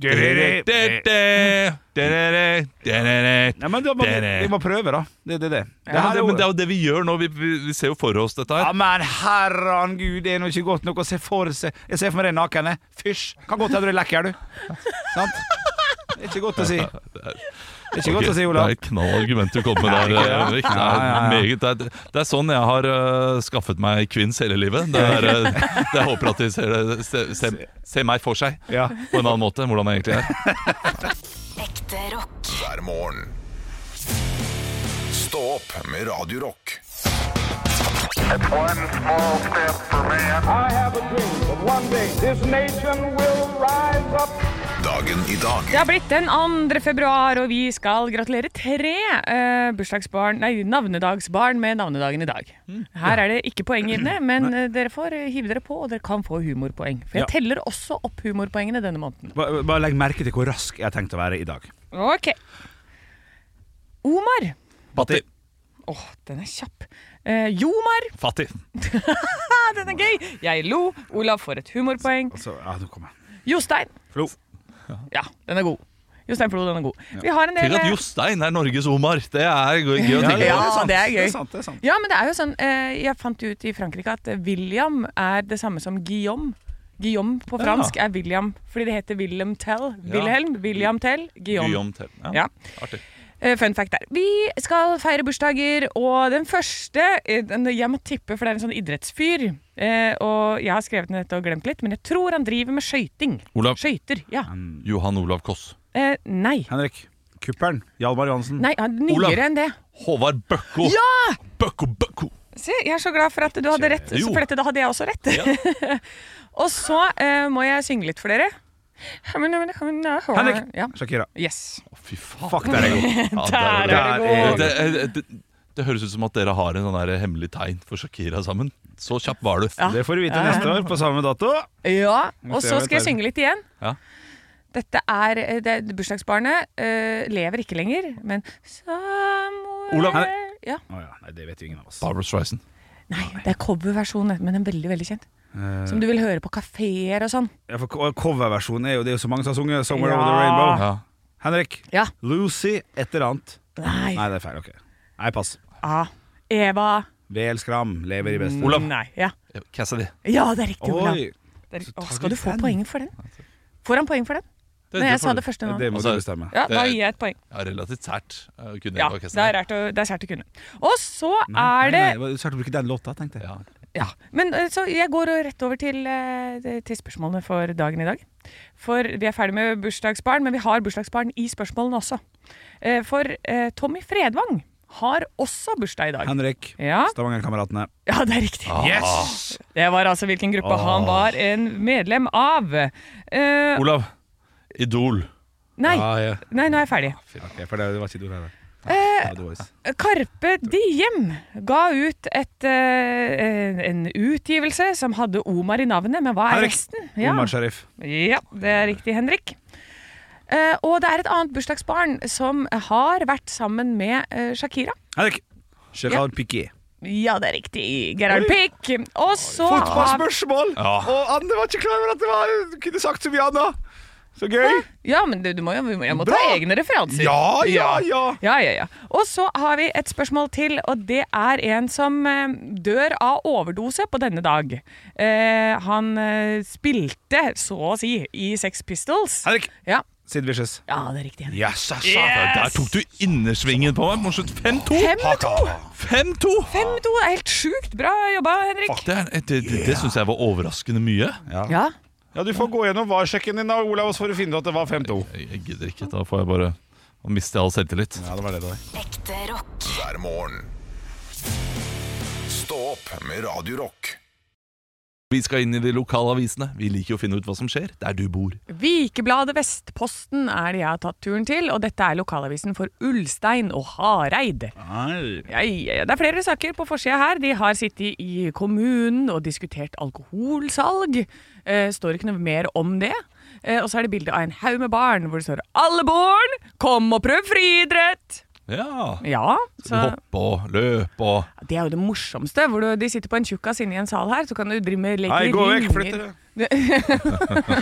[SPEAKER 4] Derere, derere, derere.
[SPEAKER 2] Nei, men da må,
[SPEAKER 4] Det er det.
[SPEAKER 2] vi må prøve, da. Det er det, det.
[SPEAKER 3] Ja,
[SPEAKER 2] Det
[SPEAKER 4] Ja,
[SPEAKER 2] her
[SPEAKER 4] det,
[SPEAKER 2] er jo-
[SPEAKER 4] men det er jo det vi gjør nå. Vi, vi, vi ser jo for oss dette
[SPEAKER 2] Ja,
[SPEAKER 4] her.
[SPEAKER 2] men herran gud, det er nå ikke godt nok å se for seg Jeg ser for meg deg naken. jeg. Fysj! Kan godt hende du er lekker, du. Sant? Det er ikke godt å si. Det er ikke godt
[SPEAKER 4] Ok,
[SPEAKER 2] å si, Olav.
[SPEAKER 4] Det er et knallargument du kom med der. eh, Henrik. Det
[SPEAKER 2] Ja, ja, ja.
[SPEAKER 4] er, meget, det, er, det er sånn jeg har øh, skaffet meg kvinns hele livet. Det er, øh, det jeg håper at de ser, det- se, se, se meg for seg
[SPEAKER 2] Ja.
[SPEAKER 4] på en annen måte enn hvordan jeg egentlig er.
[SPEAKER 5] Ekte rock.
[SPEAKER 1] hver morgen. Stå opp med Radio Rock.
[SPEAKER 6] One small step for man.
[SPEAKER 7] I have a dream that one day this nation will rise up.
[SPEAKER 1] Da Dagen i dag
[SPEAKER 3] Det har blitt den 2. februar, og vi skal gratulere tre eh, bursdagsbarn, nei, navnedagsbarn med navnedagen i dag. Her er det ikke poeng inne, men eh, dere får eh, hive dere på, og dere kan få humorpoeng. For jeg
[SPEAKER 2] Ja.
[SPEAKER 3] teller også opp humorpoengene denne måneden.
[SPEAKER 2] Bare, bare legg merke til hvor rask jeg har tenkt å være i dag.
[SPEAKER 3] Ok. Omar.
[SPEAKER 4] Fattig.
[SPEAKER 3] Åh, den er kjapp. Eh, Jomar.
[SPEAKER 4] Fattig.
[SPEAKER 3] Ja, den er gøy. Jeg lo. Olav får et humorpoeng.
[SPEAKER 2] Altså, ja, nå kommer jeg.
[SPEAKER 3] Jostein.
[SPEAKER 2] Flo.
[SPEAKER 3] Ja, den er god. Jostein Flo, den er god. Vi har en del eh,
[SPEAKER 4] Tenk at Jostein er Norges Omar. Det er gøy gøy å
[SPEAKER 3] Ja,
[SPEAKER 4] tenke på.
[SPEAKER 3] det er gøy.
[SPEAKER 2] Det er sant, det er sant.
[SPEAKER 3] Ja, men det er jo sånn eh, Jeg fant jo ut i Frankrike at eh, William er det samme som Guillaume. Guillaume på fransk er William, fordi det heter Willem Tell. Wilhelm, William Tell, Guillaume.
[SPEAKER 4] Guillaume Tell.
[SPEAKER 3] Ja.
[SPEAKER 4] Artig.
[SPEAKER 3] Eh, Fun fact der. Vi skal feire bursdager, og den første eh, den- Jeg må tippe, for det er en sånn idrettsfyr. Eh, og jeg har skrevet ned dette og glemt litt, men jeg tror han driver med skøyting.
[SPEAKER 4] Olav.
[SPEAKER 3] Skøyter, ja.
[SPEAKER 4] Johan Olav Koss.
[SPEAKER 3] Eh, nei.
[SPEAKER 2] Henrik. Kuppelen. Hjalmar Johansen.
[SPEAKER 3] Nei, han er
[SPEAKER 4] Olav.
[SPEAKER 3] nyere enn det.
[SPEAKER 4] Håvard Bøkko.
[SPEAKER 3] Ja!
[SPEAKER 4] Bøkko, Bøkko.
[SPEAKER 3] Se, jeg er så glad for at du hadde rett,
[SPEAKER 4] Jo.
[SPEAKER 3] så for dette, da hadde jeg også rett. og så eh, må jeg synge litt for dere.
[SPEAKER 2] Henrik.
[SPEAKER 3] Ja.
[SPEAKER 2] Shakira.
[SPEAKER 3] Yes.
[SPEAKER 4] Å, fy faen.
[SPEAKER 2] Fuck, der er jeg god.
[SPEAKER 4] Ja,
[SPEAKER 3] Der
[SPEAKER 4] det.
[SPEAKER 3] er det
[SPEAKER 2] Der
[SPEAKER 3] god.
[SPEAKER 4] Det, det, det, det høres ut som at dere har en sånn der hemmelig tegn for Shakira sammen. Så kjapp var du.
[SPEAKER 3] Ja.
[SPEAKER 2] Det får du vite neste år på samme dato.
[SPEAKER 3] Ja, og
[SPEAKER 2] se
[SPEAKER 3] så
[SPEAKER 2] hva
[SPEAKER 3] skal jeg
[SPEAKER 2] dette er.
[SPEAKER 3] synge litt igjen.
[SPEAKER 4] Ja.
[SPEAKER 3] Dette er eh, det, Bursdagsbarnet eh, lever ikke lenger, men Somewhere
[SPEAKER 2] Olav.
[SPEAKER 3] Ja.
[SPEAKER 2] Å ja, nei, det vet jo ingen av oss.
[SPEAKER 4] Barbra Streisand.
[SPEAKER 3] Nei, det er coverversjonen, men en veldig veldig kjent. Som du vil høre på kafeer og sånn.
[SPEAKER 2] Ja, for co- Coverversjonen er jo det er jo så mange som har sunget 'Somewhere
[SPEAKER 3] Ja.
[SPEAKER 2] Over the Rainbow'.
[SPEAKER 4] Ja.
[SPEAKER 2] Henrik.
[SPEAKER 3] Ja.
[SPEAKER 2] Lucy et eller annet.
[SPEAKER 3] Nei.
[SPEAKER 2] Nei, det er feil. ok Nei, pass.
[SPEAKER 3] Ah. Eva.
[SPEAKER 2] VL Skram lever i beste.
[SPEAKER 3] Nei. Ja.
[SPEAKER 4] Cassidy.
[SPEAKER 3] ja, det er riktig, Olav.
[SPEAKER 2] Oi!
[SPEAKER 3] Der,
[SPEAKER 2] Så
[SPEAKER 3] Åh,
[SPEAKER 2] tar
[SPEAKER 3] skal
[SPEAKER 2] vi
[SPEAKER 3] du få
[SPEAKER 2] den.
[SPEAKER 3] poeng for den? Får han poeng for den? Når
[SPEAKER 4] Det- det
[SPEAKER 3] jeg
[SPEAKER 4] får
[SPEAKER 3] sa
[SPEAKER 4] du.
[SPEAKER 3] det første nå.
[SPEAKER 2] Det må
[SPEAKER 4] Altså,
[SPEAKER 2] du bestemme.
[SPEAKER 3] Ja, da
[SPEAKER 4] det-
[SPEAKER 3] gir jeg et poeng.
[SPEAKER 4] Ja, relativt sært. eh, å kunne
[SPEAKER 3] Ja,
[SPEAKER 4] gjøre
[SPEAKER 3] det
[SPEAKER 4] orkester.
[SPEAKER 3] er sært å, det er sært å kunne. Og så er det
[SPEAKER 2] Nei, nei, det var Svært å bruke den låta, tenkte jeg.
[SPEAKER 4] Ja.
[SPEAKER 3] Ja, men eh, så jeg går rett over til, eh, til spørsmålene for dagen i dag. For vi er ferdig med bursdagsbarn, men vi har bursdagsbarn i spørsmålene også. Eh, For eh, Tommy Fredvang har også bursdag i dag.
[SPEAKER 2] Henrik.
[SPEAKER 3] Ja.
[SPEAKER 2] Stavangerkameratene.
[SPEAKER 3] Ja, det er riktig.
[SPEAKER 2] Yes!
[SPEAKER 3] Det var altså hvilken gruppe han var en medlem av. Eh,
[SPEAKER 4] Olav. Idol.
[SPEAKER 3] nei,
[SPEAKER 2] Ah, ja.
[SPEAKER 3] nei, nå er jeg ferdig.
[SPEAKER 2] Ok, for det, det var ikke du der.
[SPEAKER 3] Eh, Karpe Diem ga ut et, eh, en utgivelse som hadde Omar i navnet, men hva er
[SPEAKER 2] Henrik.
[SPEAKER 3] resten?
[SPEAKER 2] Ja.
[SPEAKER 3] Ja.
[SPEAKER 2] Omar Sharif.
[SPEAKER 3] ja, det er riktig, Henrik. Eh, og det er et annet bursdagsbarn som har vært sammen med eh, Shakira.
[SPEAKER 2] Henrik. Gerard Piquet.
[SPEAKER 3] Ja, det er riktig. Gerhard Pick. Og så
[SPEAKER 2] Fotballspørsmål!
[SPEAKER 4] Ja.
[SPEAKER 2] Og Anne var ikke klar over at det var kunne sagt så mye annet. Så gøy!
[SPEAKER 3] Ja, men du, du må jo jeg må ta
[SPEAKER 2] Bra!
[SPEAKER 3] egne referanser.
[SPEAKER 2] Ja, ja, ja.
[SPEAKER 3] Ja, ja, ja. Og så har vi et spørsmål til, og det er en som eh, dør av overdose på denne dag. Eh, han eh, spilte, så å si, i Sex Pistols.
[SPEAKER 2] Henrik.
[SPEAKER 3] Ja,
[SPEAKER 2] Sid Vicious.
[SPEAKER 3] ja det er riktig. Henrik.
[SPEAKER 2] Yes, yes,
[SPEAKER 4] Der, altså. der tok du innersvingen på meg. Morsomt. 5-2!
[SPEAKER 3] Fem med to!
[SPEAKER 4] 5-2!
[SPEAKER 3] Fem med to det er helt sjukt bra jobba, Henrik.
[SPEAKER 4] Det, er- det, det, det syns jeg var overraskende mye.
[SPEAKER 3] Ja.
[SPEAKER 2] Ja, Du får gå gjennom varsjekken din, da, Olav, og så får du finne ut at det var 5-2.
[SPEAKER 4] Jeg, jeg gidder ikke. Da får jeg bare Da mister jeg all selvtillit.
[SPEAKER 2] Ja, det var det det var.
[SPEAKER 5] Ekte rock.
[SPEAKER 1] hver morgen. Stå opp med Radio Rock.
[SPEAKER 4] Vi skal inn i de lokale avisene. Vi liker jo å finne ut hva som skjer der du bor.
[SPEAKER 3] Vikebladet Vestposten er det jeg har tatt turen til, og dette er lokalavisen for Ulstein og Hareid. Ja, ja, ja. Det er flere saker på forsida her. De har sittet i kommunen og diskutert alkoholsalg. Eh, står ikke noe mer om det. Eh, og så er det bilde av en haug med barn hvor det står 'Alle barn, kom og prøv friidrett'!
[SPEAKER 4] Ja.
[SPEAKER 3] Ja, så
[SPEAKER 4] Hoppe og løpe og
[SPEAKER 3] det er jo det morsomste. Hvor du, de sitter på en tjukkas inne i en sal her, så kan du drive med leke
[SPEAKER 2] Nei, gå vekk, flytt
[SPEAKER 3] ringer.
[SPEAKER 2] dere.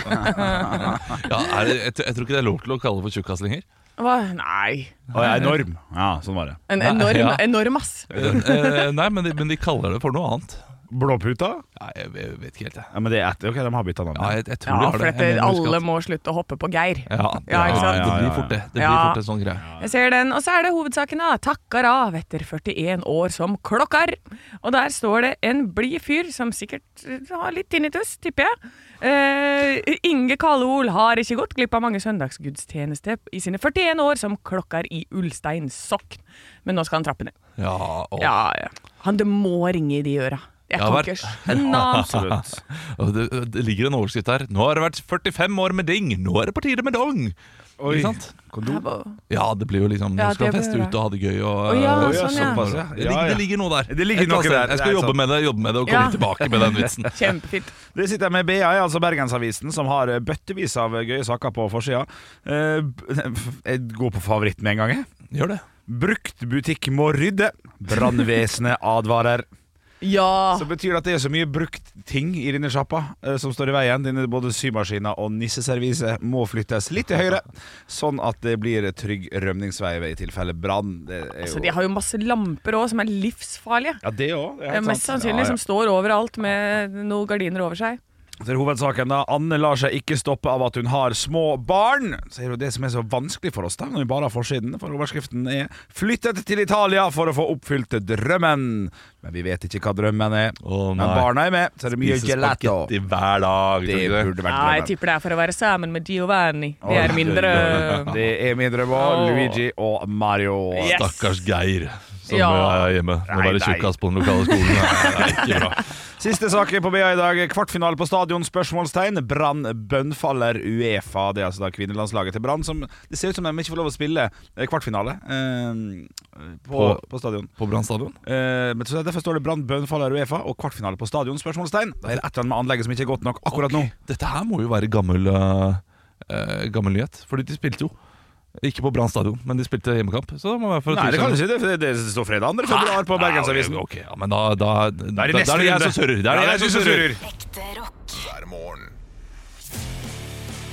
[SPEAKER 4] ja, er det, jeg, jeg tror ikke det er lov til å kalle det for tjukkas lenger.
[SPEAKER 3] Hva? Nei.
[SPEAKER 2] Og jeg er enorm. Ja, sånn var det.
[SPEAKER 3] En enorm,
[SPEAKER 4] ja.
[SPEAKER 3] enorm ass.
[SPEAKER 4] Eh, nei, men de, men de kaller det for noe annet.
[SPEAKER 2] Blåputa?
[SPEAKER 4] Nei, jeg, jeg vet ikke helt, jeg.
[SPEAKER 2] Ja, men det er etter. Ok, de har bytta navn.
[SPEAKER 4] Ja, jeg, jeg tror
[SPEAKER 3] Ja,
[SPEAKER 4] de har
[SPEAKER 3] for
[SPEAKER 4] det. Jeg
[SPEAKER 3] dette,
[SPEAKER 4] mener, jeg husker
[SPEAKER 3] alle
[SPEAKER 4] at-
[SPEAKER 3] må slutte å hoppe på Geir.
[SPEAKER 4] ja,
[SPEAKER 3] Ja, ikke sant?
[SPEAKER 4] Det blir fort det. Det blir
[SPEAKER 3] Ja.
[SPEAKER 4] fort en sånn greie.
[SPEAKER 3] Jeg ser den, og så er det hovedsaken da Takkar av etter 41 år som klokkar Og der står det en blid fyr Som sikkert eh, har litt tinnitus, tipper jeg eh, Inge Kalleol har ikke gått glipp av mange søndagsgudstjeneste I sine 41 år som klokkar i Ulstein Sokk Men nå skal han trappe ned
[SPEAKER 4] Ja, og
[SPEAKER 3] Ja, ja Han, det må ringe i de øra Jeg
[SPEAKER 4] Ja,
[SPEAKER 3] kan
[SPEAKER 4] vel.
[SPEAKER 3] ikke skjønne han.
[SPEAKER 2] Absolutt.
[SPEAKER 4] Og Det, det ligger en overskrift her. 'Nå har det vært 45 år med ding, nå er det på tide med dong'.
[SPEAKER 2] Oi.
[SPEAKER 4] Ikke sant?
[SPEAKER 3] Jeg
[SPEAKER 2] Kondom.
[SPEAKER 3] bare-
[SPEAKER 4] Ja, det blir jo liksom
[SPEAKER 3] Ja,
[SPEAKER 4] Nå
[SPEAKER 3] det
[SPEAKER 4] skal han feste
[SPEAKER 3] blir det.
[SPEAKER 4] ut og ha det gøy. Og,
[SPEAKER 3] Å, ja,
[SPEAKER 4] og-
[SPEAKER 3] sånn,
[SPEAKER 4] og-
[SPEAKER 3] ja.
[SPEAKER 4] såpass,
[SPEAKER 2] Ja,
[SPEAKER 4] Det,
[SPEAKER 2] ja.
[SPEAKER 4] ligger, det ligger noe der.
[SPEAKER 2] Det ligger
[SPEAKER 4] Et eller annet
[SPEAKER 2] noe der,
[SPEAKER 4] sted. Jeg
[SPEAKER 2] det
[SPEAKER 4] skal
[SPEAKER 2] er
[SPEAKER 4] jobbe
[SPEAKER 2] sant.
[SPEAKER 4] med det jobbe med det og komme
[SPEAKER 3] Ja.
[SPEAKER 4] tilbake med den vitsen.
[SPEAKER 3] Kjempefint.
[SPEAKER 2] Det sitter jeg med BI, altså Bergensavisen, som har eh, bøttevis av gøye saker på forsida. Eh, b- Jeg går på favoritt med en gang, jeg.
[SPEAKER 4] Gjør det.
[SPEAKER 2] Bruktbutikk må rydde. Brannvesenet advarer.
[SPEAKER 3] Ja.
[SPEAKER 2] Så betyr det at det er så mye brukt ting i denne sjappa eh, som står i veien. Dine både symaskiner og nisseserviset må flyttes litt til høyre, sånn at det blir trygg rømningsvei i tilfelle brann. Det er
[SPEAKER 3] Altså,
[SPEAKER 2] jo
[SPEAKER 3] de har jo masse lamper òg, som er livsfarlige.
[SPEAKER 2] Ja, det òg.
[SPEAKER 3] Eh, Mest sannsynlig som står overalt med noen gardiner over seg.
[SPEAKER 2] Til hovedsaken da Anne lar seg ikke stoppe av at hun har små barn Så er det jo det som er så vanskelig for oss da Når vi bare har forsiden For overskriften er Flyttet til Italia for å få oppfylt drømmen Men vi vet ikke hva drømmen er
[SPEAKER 4] Å,
[SPEAKER 2] Men
[SPEAKER 4] nei.
[SPEAKER 2] barna er med Så er det mye
[SPEAKER 4] Spise
[SPEAKER 2] gelato
[SPEAKER 4] spagetti hver dag.
[SPEAKER 2] Det
[SPEAKER 4] tror du det?
[SPEAKER 2] burde vært
[SPEAKER 3] Ja, jeg
[SPEAKER 2] drømmen
[SPEAKER 3] tipper det er for å være sammen med Giovanni. Det
[SPEAKER 2] Oi,
[SPEAKER 3] er min
[SPEAKER 4] oi, oi.
[SPEAKER 3] drøm.
[SPEAKER 2] Det er min drøm
[SPEAKER 3] Åh.
[SPEAKER 2] også Luigi og Mario
[SPEAKER 3] Yes.
[SPEAKER 4] Stakkars Geir, som
[SPEAKER 3] Ja.
[SPEAKER 4] er hjemme. Må
[SPEAKER 2] Nei,
[SPEAKER 4] være
[SPEAKER 2] nei.
[SPEAKER 4] tjukkas på den lokale skolen. Nei, det er ikke bra.
[SPEAKER 2] Siste saken på BA i dag. Kvartfinale på stadion? Spørsmålstegn. Brann bønnfaller Uefa. Det er altså da kvinnelandslaget til Brann som Det ser ut som de ikke får lov å spille eh, kvartfinale eh, på,
[SPEAKER 4] På-
[SPEAKER 2] på stadion.
[SPEAKER 4] På Brann stadion?
[SPEAKER 2] Eh, men så Derfor står det Brann bønnfaller Uefa og kvartfinale på stadion? Spørsmålstegn. Da er det et eller annet med anlegget som ikke er godt nok akkurat nå.
[SPEAKER 4] Dette her må jo være gammel, eh, gammel nyhet. Fordi de spilte jo. Ikke på Brann stadion, men de spilte hjemmekamp. Så det må være for et
[SPEAKER 2] Nei,
[SPEAKER 4] år
[SPEAKER 2] det kan du
[SPEAKER 4] siden.
[SPEAKER 2] si, det, for det, det står fredag 2. februar på
[SPEAKER 4] Nei,
[SPEAKER 2] Bergensavisen.
[SPEAKER 4] ok, Ah, ja, men da, da, da, da
[SPEAKER 2] Da
[SPEAKER 4] er det jeg som surrer. Da er det jeg som surrer.
[SPEAKER 5] Ekte rock.
[SPEAKER 1] hver morgen.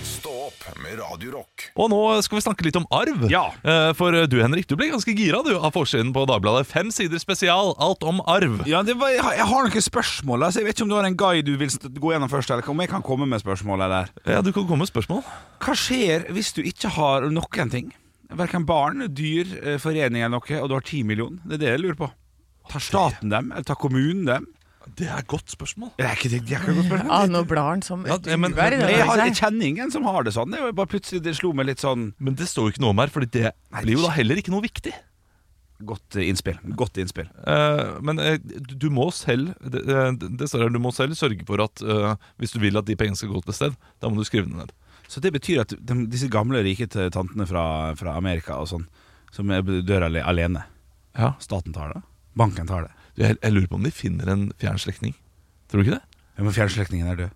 [SPEAKER 1] Stå opp med Radio Rock.
[SPEAKER 4] Og nå skal vi snakke litt om arv.
[SPEAKER 2] Ja.
[SPEAKER 4] Eh, For du Henrik, du ble ganske gira du av forsiden på Dagbladet. Fem sider spesial, alt om arv.
[SPEAKER 2] Ja, det var, jeg har- jeg har noen spørsmål. Altså, jeg vet ikke om du har en guide du vil st- gå gjennom først, eller om jeg kan komme med spørsmål. Eller?
[SPEAKER 4] Ja, Du kan komme med spørsmål.
[SPEAKER 2] Hva skjer hvis du ikke har noen ting? Hverken barn, dyr, eh, forening eller noe, og du har 10 millioner? Det er det jeg lurer på. Tar staten dem, eller tar kommunen dem?
[SPEAKER 4] Det er et godt spørsmål.
[SPEAKER 2] Det er ikke, det er ikke godt spørsmål.
[SPEAKER 3] Ah, nå blar han som
[SPEAKER 4] Ja,
[SPEAKER 3] et
[SPEAKER 4] ja, men-
[SPEAKER 3] uvær. i
[SPEAKER 4] men-
[SPEAKER 3] den
[SPEAKER 2] Jeg, har,
[SPEAKER 3] avisen
[SPEAKER 2] jeg
[SPEAKER 3] her.
[SPEAKER 2] kjenner ingen som har det sånn. Det er jo bare plutselig det slo meg litt sånn
[SPEAKER 4] Men det står jo ikke noe om her, Fordi det blir jo da heller ikke noe viktig.
[SPEAKER 2] Godt eh, innspill. Godt innspill.
[SPEAKER 4] Eh, men eh, du du må selv det, eh, det, det står her, du må selv sørge for at eh, hvis du vil at de pengene skal gå til et sted, da må du skrive det ned.
[SPEAKER 2] Så det betyr at de, disse gamle, rike t- tantene fra, fra Amerika og sånn, som er- dør ale- alene
[SPEAKER 4] Ja.
[SPEAKER 2] Staten tar det. Banken tar det.
[SPEAKER 4] Jeg, jeg lurer på om de finner en fjern slektning. Tror du ikke det?
[SPEAKER 2] Ja, men fjernslektningen er død.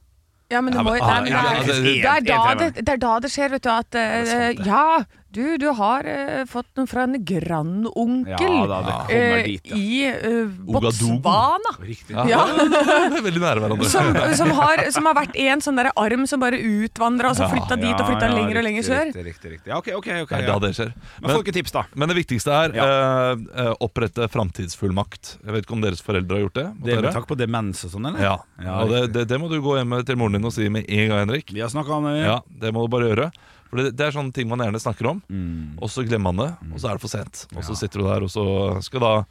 [SPEAKER 3] Ja, men du
[SPEAKER 4] Ja,
[SPEAKER 3] må
[SPEAKER 4] men-
[SPEAKER 3] Nei, men
[SPEAKER 4] ja,
[SPEAKER 3] det er-
[SPEAKER 4] ja, det-
[SPEAKER 3] det er da
[SPEAKER 2] en- en-
[SPEAKER 3] det, det er da det skjer, vet du. At eh, Ja, du, du har eh, fått noe fra en
[SPEAKER 2] Ja
[SPEAKER 3] grandonkel
[SPEAKER 2] da, det kommer
[SPEAKER 3] eh,
[SPEAKER 2] dit, da.
[SPEAKER 3] i eh,
[SPEAKER 4] Ouagadougou.
[SPEAKER 3] Botswana.
[SPEAKER 2] Riktig.
[SPEAKER 3] Ja.
[SPEAKER 4] det er veldig nære hverandre.
[SPEAKER 3] Som, som, har, som har vært en sånn der arm som bare utvandra, og så flytta dit og flytta
[SPEAKER 2] ja,
[SPEAKER 3] lenger og
[SPEAKER 2] riktig,
[SPEAKER 3] lenger sør.
[SPEAKER 2] Riktig, riktig, riktig. Ja, ok, ok, ok
[SPEAKER 4] Det er da
[SPEAKER 2] ja.
[SPEAKER 4] det skjer.
[SPEAKER 2] Men folk er tips da
[SPEAKER 4] Men det viktigste er eh, eh, opprette framtidsfullmakt. Jeg vet ikke om deres foreldre har gjort det. mot
[SPEAKER 2] det er med
[SPEAKER 4] dere?
[SPEAKER 2] takk på demens og sånn, eller?
[SPEAKER 4] Ja,
[SPEAKER 2] Ja,
[SPEAKER 4] og det,
[SPEAKER 2] riktig.
[SPEAKER 4] det, det må du gå hjem til moren din og si med en gang, Henrik.
[SPEAKER 2] Vi har snakket om det
[SPEAKER 4] Ja, Det må du bare gjøre. For det, det er sånne ting man gjerne snakker om,
[SPEAKER 2] Mm.
[SPEAKER 4] og så glemmer man det, og så er det for sent. Og så sitter du der, og så skal da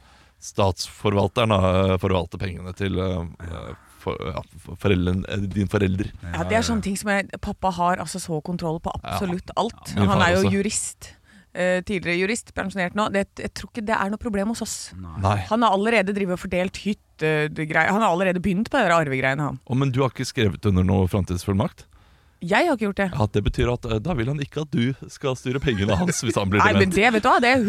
[SPEAKER 4] statsforvalteren da, forvalte pengene til eh, for, ja, for- foreldren, eh, din forelder.
[SPEAKER 3] Ja, Det er sånne ting som jeg, Pappa har altså så kontroll på absolutt alt.
[SPEAKER 4] min
[SPEAKER 3] Han
[SPEAKER 4] far
[SPEAKER 3] er jo
[SPEAKER 4] også.
[SPEAKER 3] jurist. eh, tidligere jurist, pensjonert nå. Det, jeg tror ikke det er noe problem hos oss.
[SPEAKER 4] Nei.
[SPEAKER 3] Han har allerede drivet og fordelt hyttegreier. Han har allerede begynt på de der arvegreiene, han.
[SPEAKER 4] Å, men du har ikke skrevet under noe framtidsfullmakt?
[SPEAKER 3] Jeg har ikke gjort det.
[SPEAKER 4] Ja, det betyr at eh, da vil han ikke at du skal styre pengene hans hvis han blir
[SPEAKER 3] Nei, men
[SPEAKER 4] dement.
[SPEAKER 3] det vet du hva, det er jeg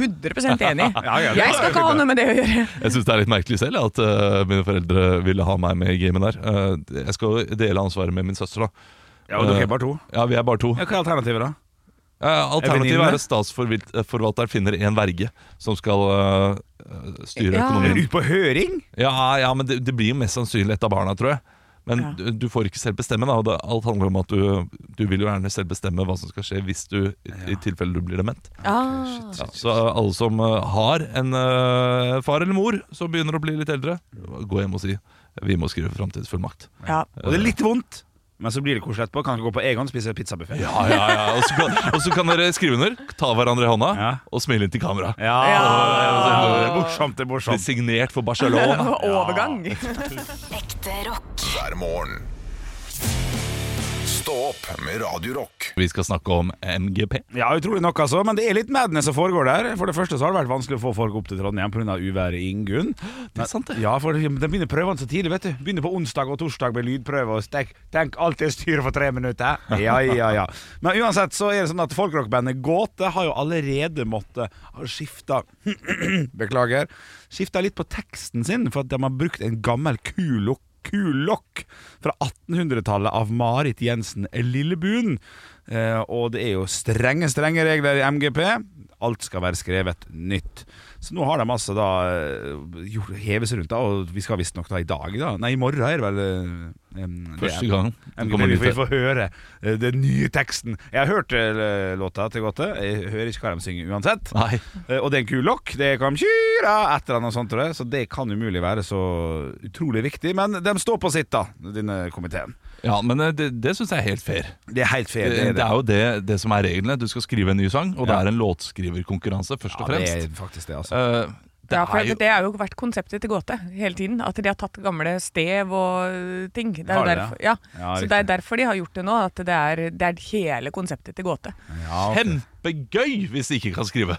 [SPEAKER 3] 100 enig i.
[SPEAKER 2] ja, det
[SPEAKER 3] Jeg
[SPEAKER 2] var
[SPEAKER 3] skal
[SPEAKER 2] jo
[SPEAKER 3] ikke ha
[SPEAKER 2] fint,
[SPEAKER 3] noe med det å gjøre.
[SPEAKER 4] Jeg syns det er litt merkelig selv at eh, mine foreldre ville ha meg med i gamen der. Eh, jeg skal jo dele ansvaret med min søster, da. Eh,
[SPEAKER 2] Ja, og dere er bare to
[SPEAKER 4] Ja, vi er bare to.
[SPEAKER 2] ja, Hva er alternativet da?
[SPEAKER 4] Eh, Alternativet
[SPEAKER 2] venninne?
[SPEAKER 4] er at statsforvalteren finner en verge som skal eh, eh, styre
[SPEAKER 3] Ja.
[SPEAKER 2] Er
[SPEAKER 4] økonomien.
[SPEAKER 2] du på høring?
[SPEAKER 4] Ja, ja, men det, det blir jo mest sannsynlig et av barna, tror jeg. Men
[SPEAKER 3] Ja.
[SPEAKER 4] du, du får ikke selv bestemme. da og det, Alt handler om at du, du vil jo gjerne selv bestemme hva som skal skje hvis du i, i tilfelle du blir dement.
[SPEAKER 3] Ah.
[SPEAKER 4] Ja, så eh, alle som eh, har en eh, far eller mor som begynner å bli litt eldre, gå hjem og si vi må skrive framtidsfullmakt.
[SPEAKER 3] Ja.
[SPEAKER 2] Og det er litt vondt Men så blir det koselig etterpå Kan dere gå på Egon og spise pizzabuffet
[SPEAKER 4] Ja, ja, ja. Og så kan, og så kan dere skrive under, ta hverandre i hånda
[SPEAKER 2] Ja.
[SPEAKER 4] og smile inn til kamera.
[SPEAKER 2] Ja,
[SPEAKER 3] Ja.
[SPEAKER 2] Det er morsomt, det er
[SPEAKER 4] Bli
[SPEAKER 2] morsomt
[SPEAKER 4] signert for Barcelona.
[SPEAKER 3] Overgang.
[SPEAKER 5] Ekte rock.
[SPEAKER 1] hver morgen. Stå opp med Radio Rock.
[SPEAKER 4] Vi skal snakke om MGP.
[SPEAKER 2] Ja, utrolig nok altså, men det er litt madness som foregår der. For det første så har det vært vanskelig å få folk opp til Trondheim pga. uværet Ingunn.
[SPEAKER 4] Det er sant, det.
[SPEAKER 2] Ja, for de begynner prøvene så tidlig, vet du. Begynner på onsdag og torsdag med lydprøve og stek. Tenk, alt er styr for tre minutter. Ja, ja, ja. Men uansett så er det sånn at folkrockbandet Gåte har jo allerede måttet skifte Beklager. Skifta litt på teksten sin, for at de har brukt en gammel kulokk. Kulokk fra 1800-tallet av Marit Jensen Lillebuen. Eh, og det er jo strenge, strenge regler i MGP. Alt skal være skrevet nytt. Så nå har de altså da eh, gjort- hevet seg rundt, da, og vi skal visstnok da i dag da. Nei, i morgen er det vel eh, em, det
[SPEAKER 4] Første
[SPEAKER 2] er-
[SPEAKER 4] gang.
[SPEAKER 2] MGP,
[SPEAKER 4] Det kommer
[SPEAKER 2] vi,
[SPEAKER 4] nytt
[SPEAKER 2] får, vi får høre eh, den nye teksten. Jeg har hørt eh, låta til Gåte. Jeg hører ikke hva de synger uansett.
[SPEAKER 4] Nei.
[SPEAKER 2] Eh, Og det er en kulokk, det kom kyra et eller annet sånt, tror jeg. Så det kan umulig være så utrolig viktig. Men de står på sitt, da, denne komiteen.
[SPEAKER 4] Ja, men eh, det, det syns jeg er helt fair.
[SPEAKER 2] Det er helt fair.
[SPEAKER 4] Det, det er jo det, det som er reglene. Du skal skrive en ny sang, og det
[SPEAKER 2] Ja.
[SPEAKER 4] er en låtskriverkonkurranse, først og
[SPEAKER 2] ja, det
[SPEAKER 4] fremst.
[SPEAKER 2] er faktisk det, altså.
[SPEAKER 4] Eh, Det
[SPEAKER 3] Ja, for
[SPEAKER 4] er
[SPEAKER 3] det,
[SPEAKER 4] jo
[SPEAKER 3] det har jo vært konseptet til Gåte hele tiden. At de har tatt gamle stev og øh, ting. Det er
[SPEAKER 2] Har
[SPEAKER 3] jo
[SPEAKER 2] de det?
[SPEAKER 3] derfor, ja. Så
[SPEAKER 2] Ja, riktig.
[SPEAKER 3] det er derfor de har gjort det nå. At det er, det er hele konseptet til Gåte.
[SPEAKER 2] Ja, ok.
[SPEAKER 4] kjempegøy hvis de ikke kan skrive.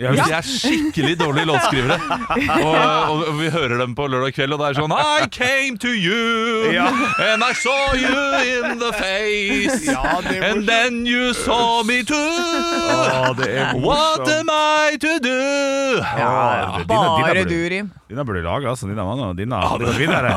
[SPEAKER 2] Ja,
[SPEAKER 4] Hvis de er skikkelig dårlige låtskrivere, og, og vi hører dem på lørdag kveld, og det er sånn I came to you,
[SPEAKER 2] Ja.
[SPEAKER 4] and I saw you in the face,
[SPEAKER 2] Ja, det er
[SPEAKER 4] and
[SPEAKER 2] morsomt.
[SPEAKER 4] then you saw me too.
[SPEAKER 2] Å, det er
[SPEAKER 4] What
[SPEAKER 2] morsomt.
[SPEAKER 4] am I to do?
[SPEAKER 2] Ja, det- dine-
[SPEAKER 3] Bare
[SPEAKER 2] dine
[SPEAKER 3] du,
[SPEAKER 2] burde-
[SPEAKER 3] Rim.
[SPEAKER 2] Dine burde laga, altså. Dine mann og dine. det går videre.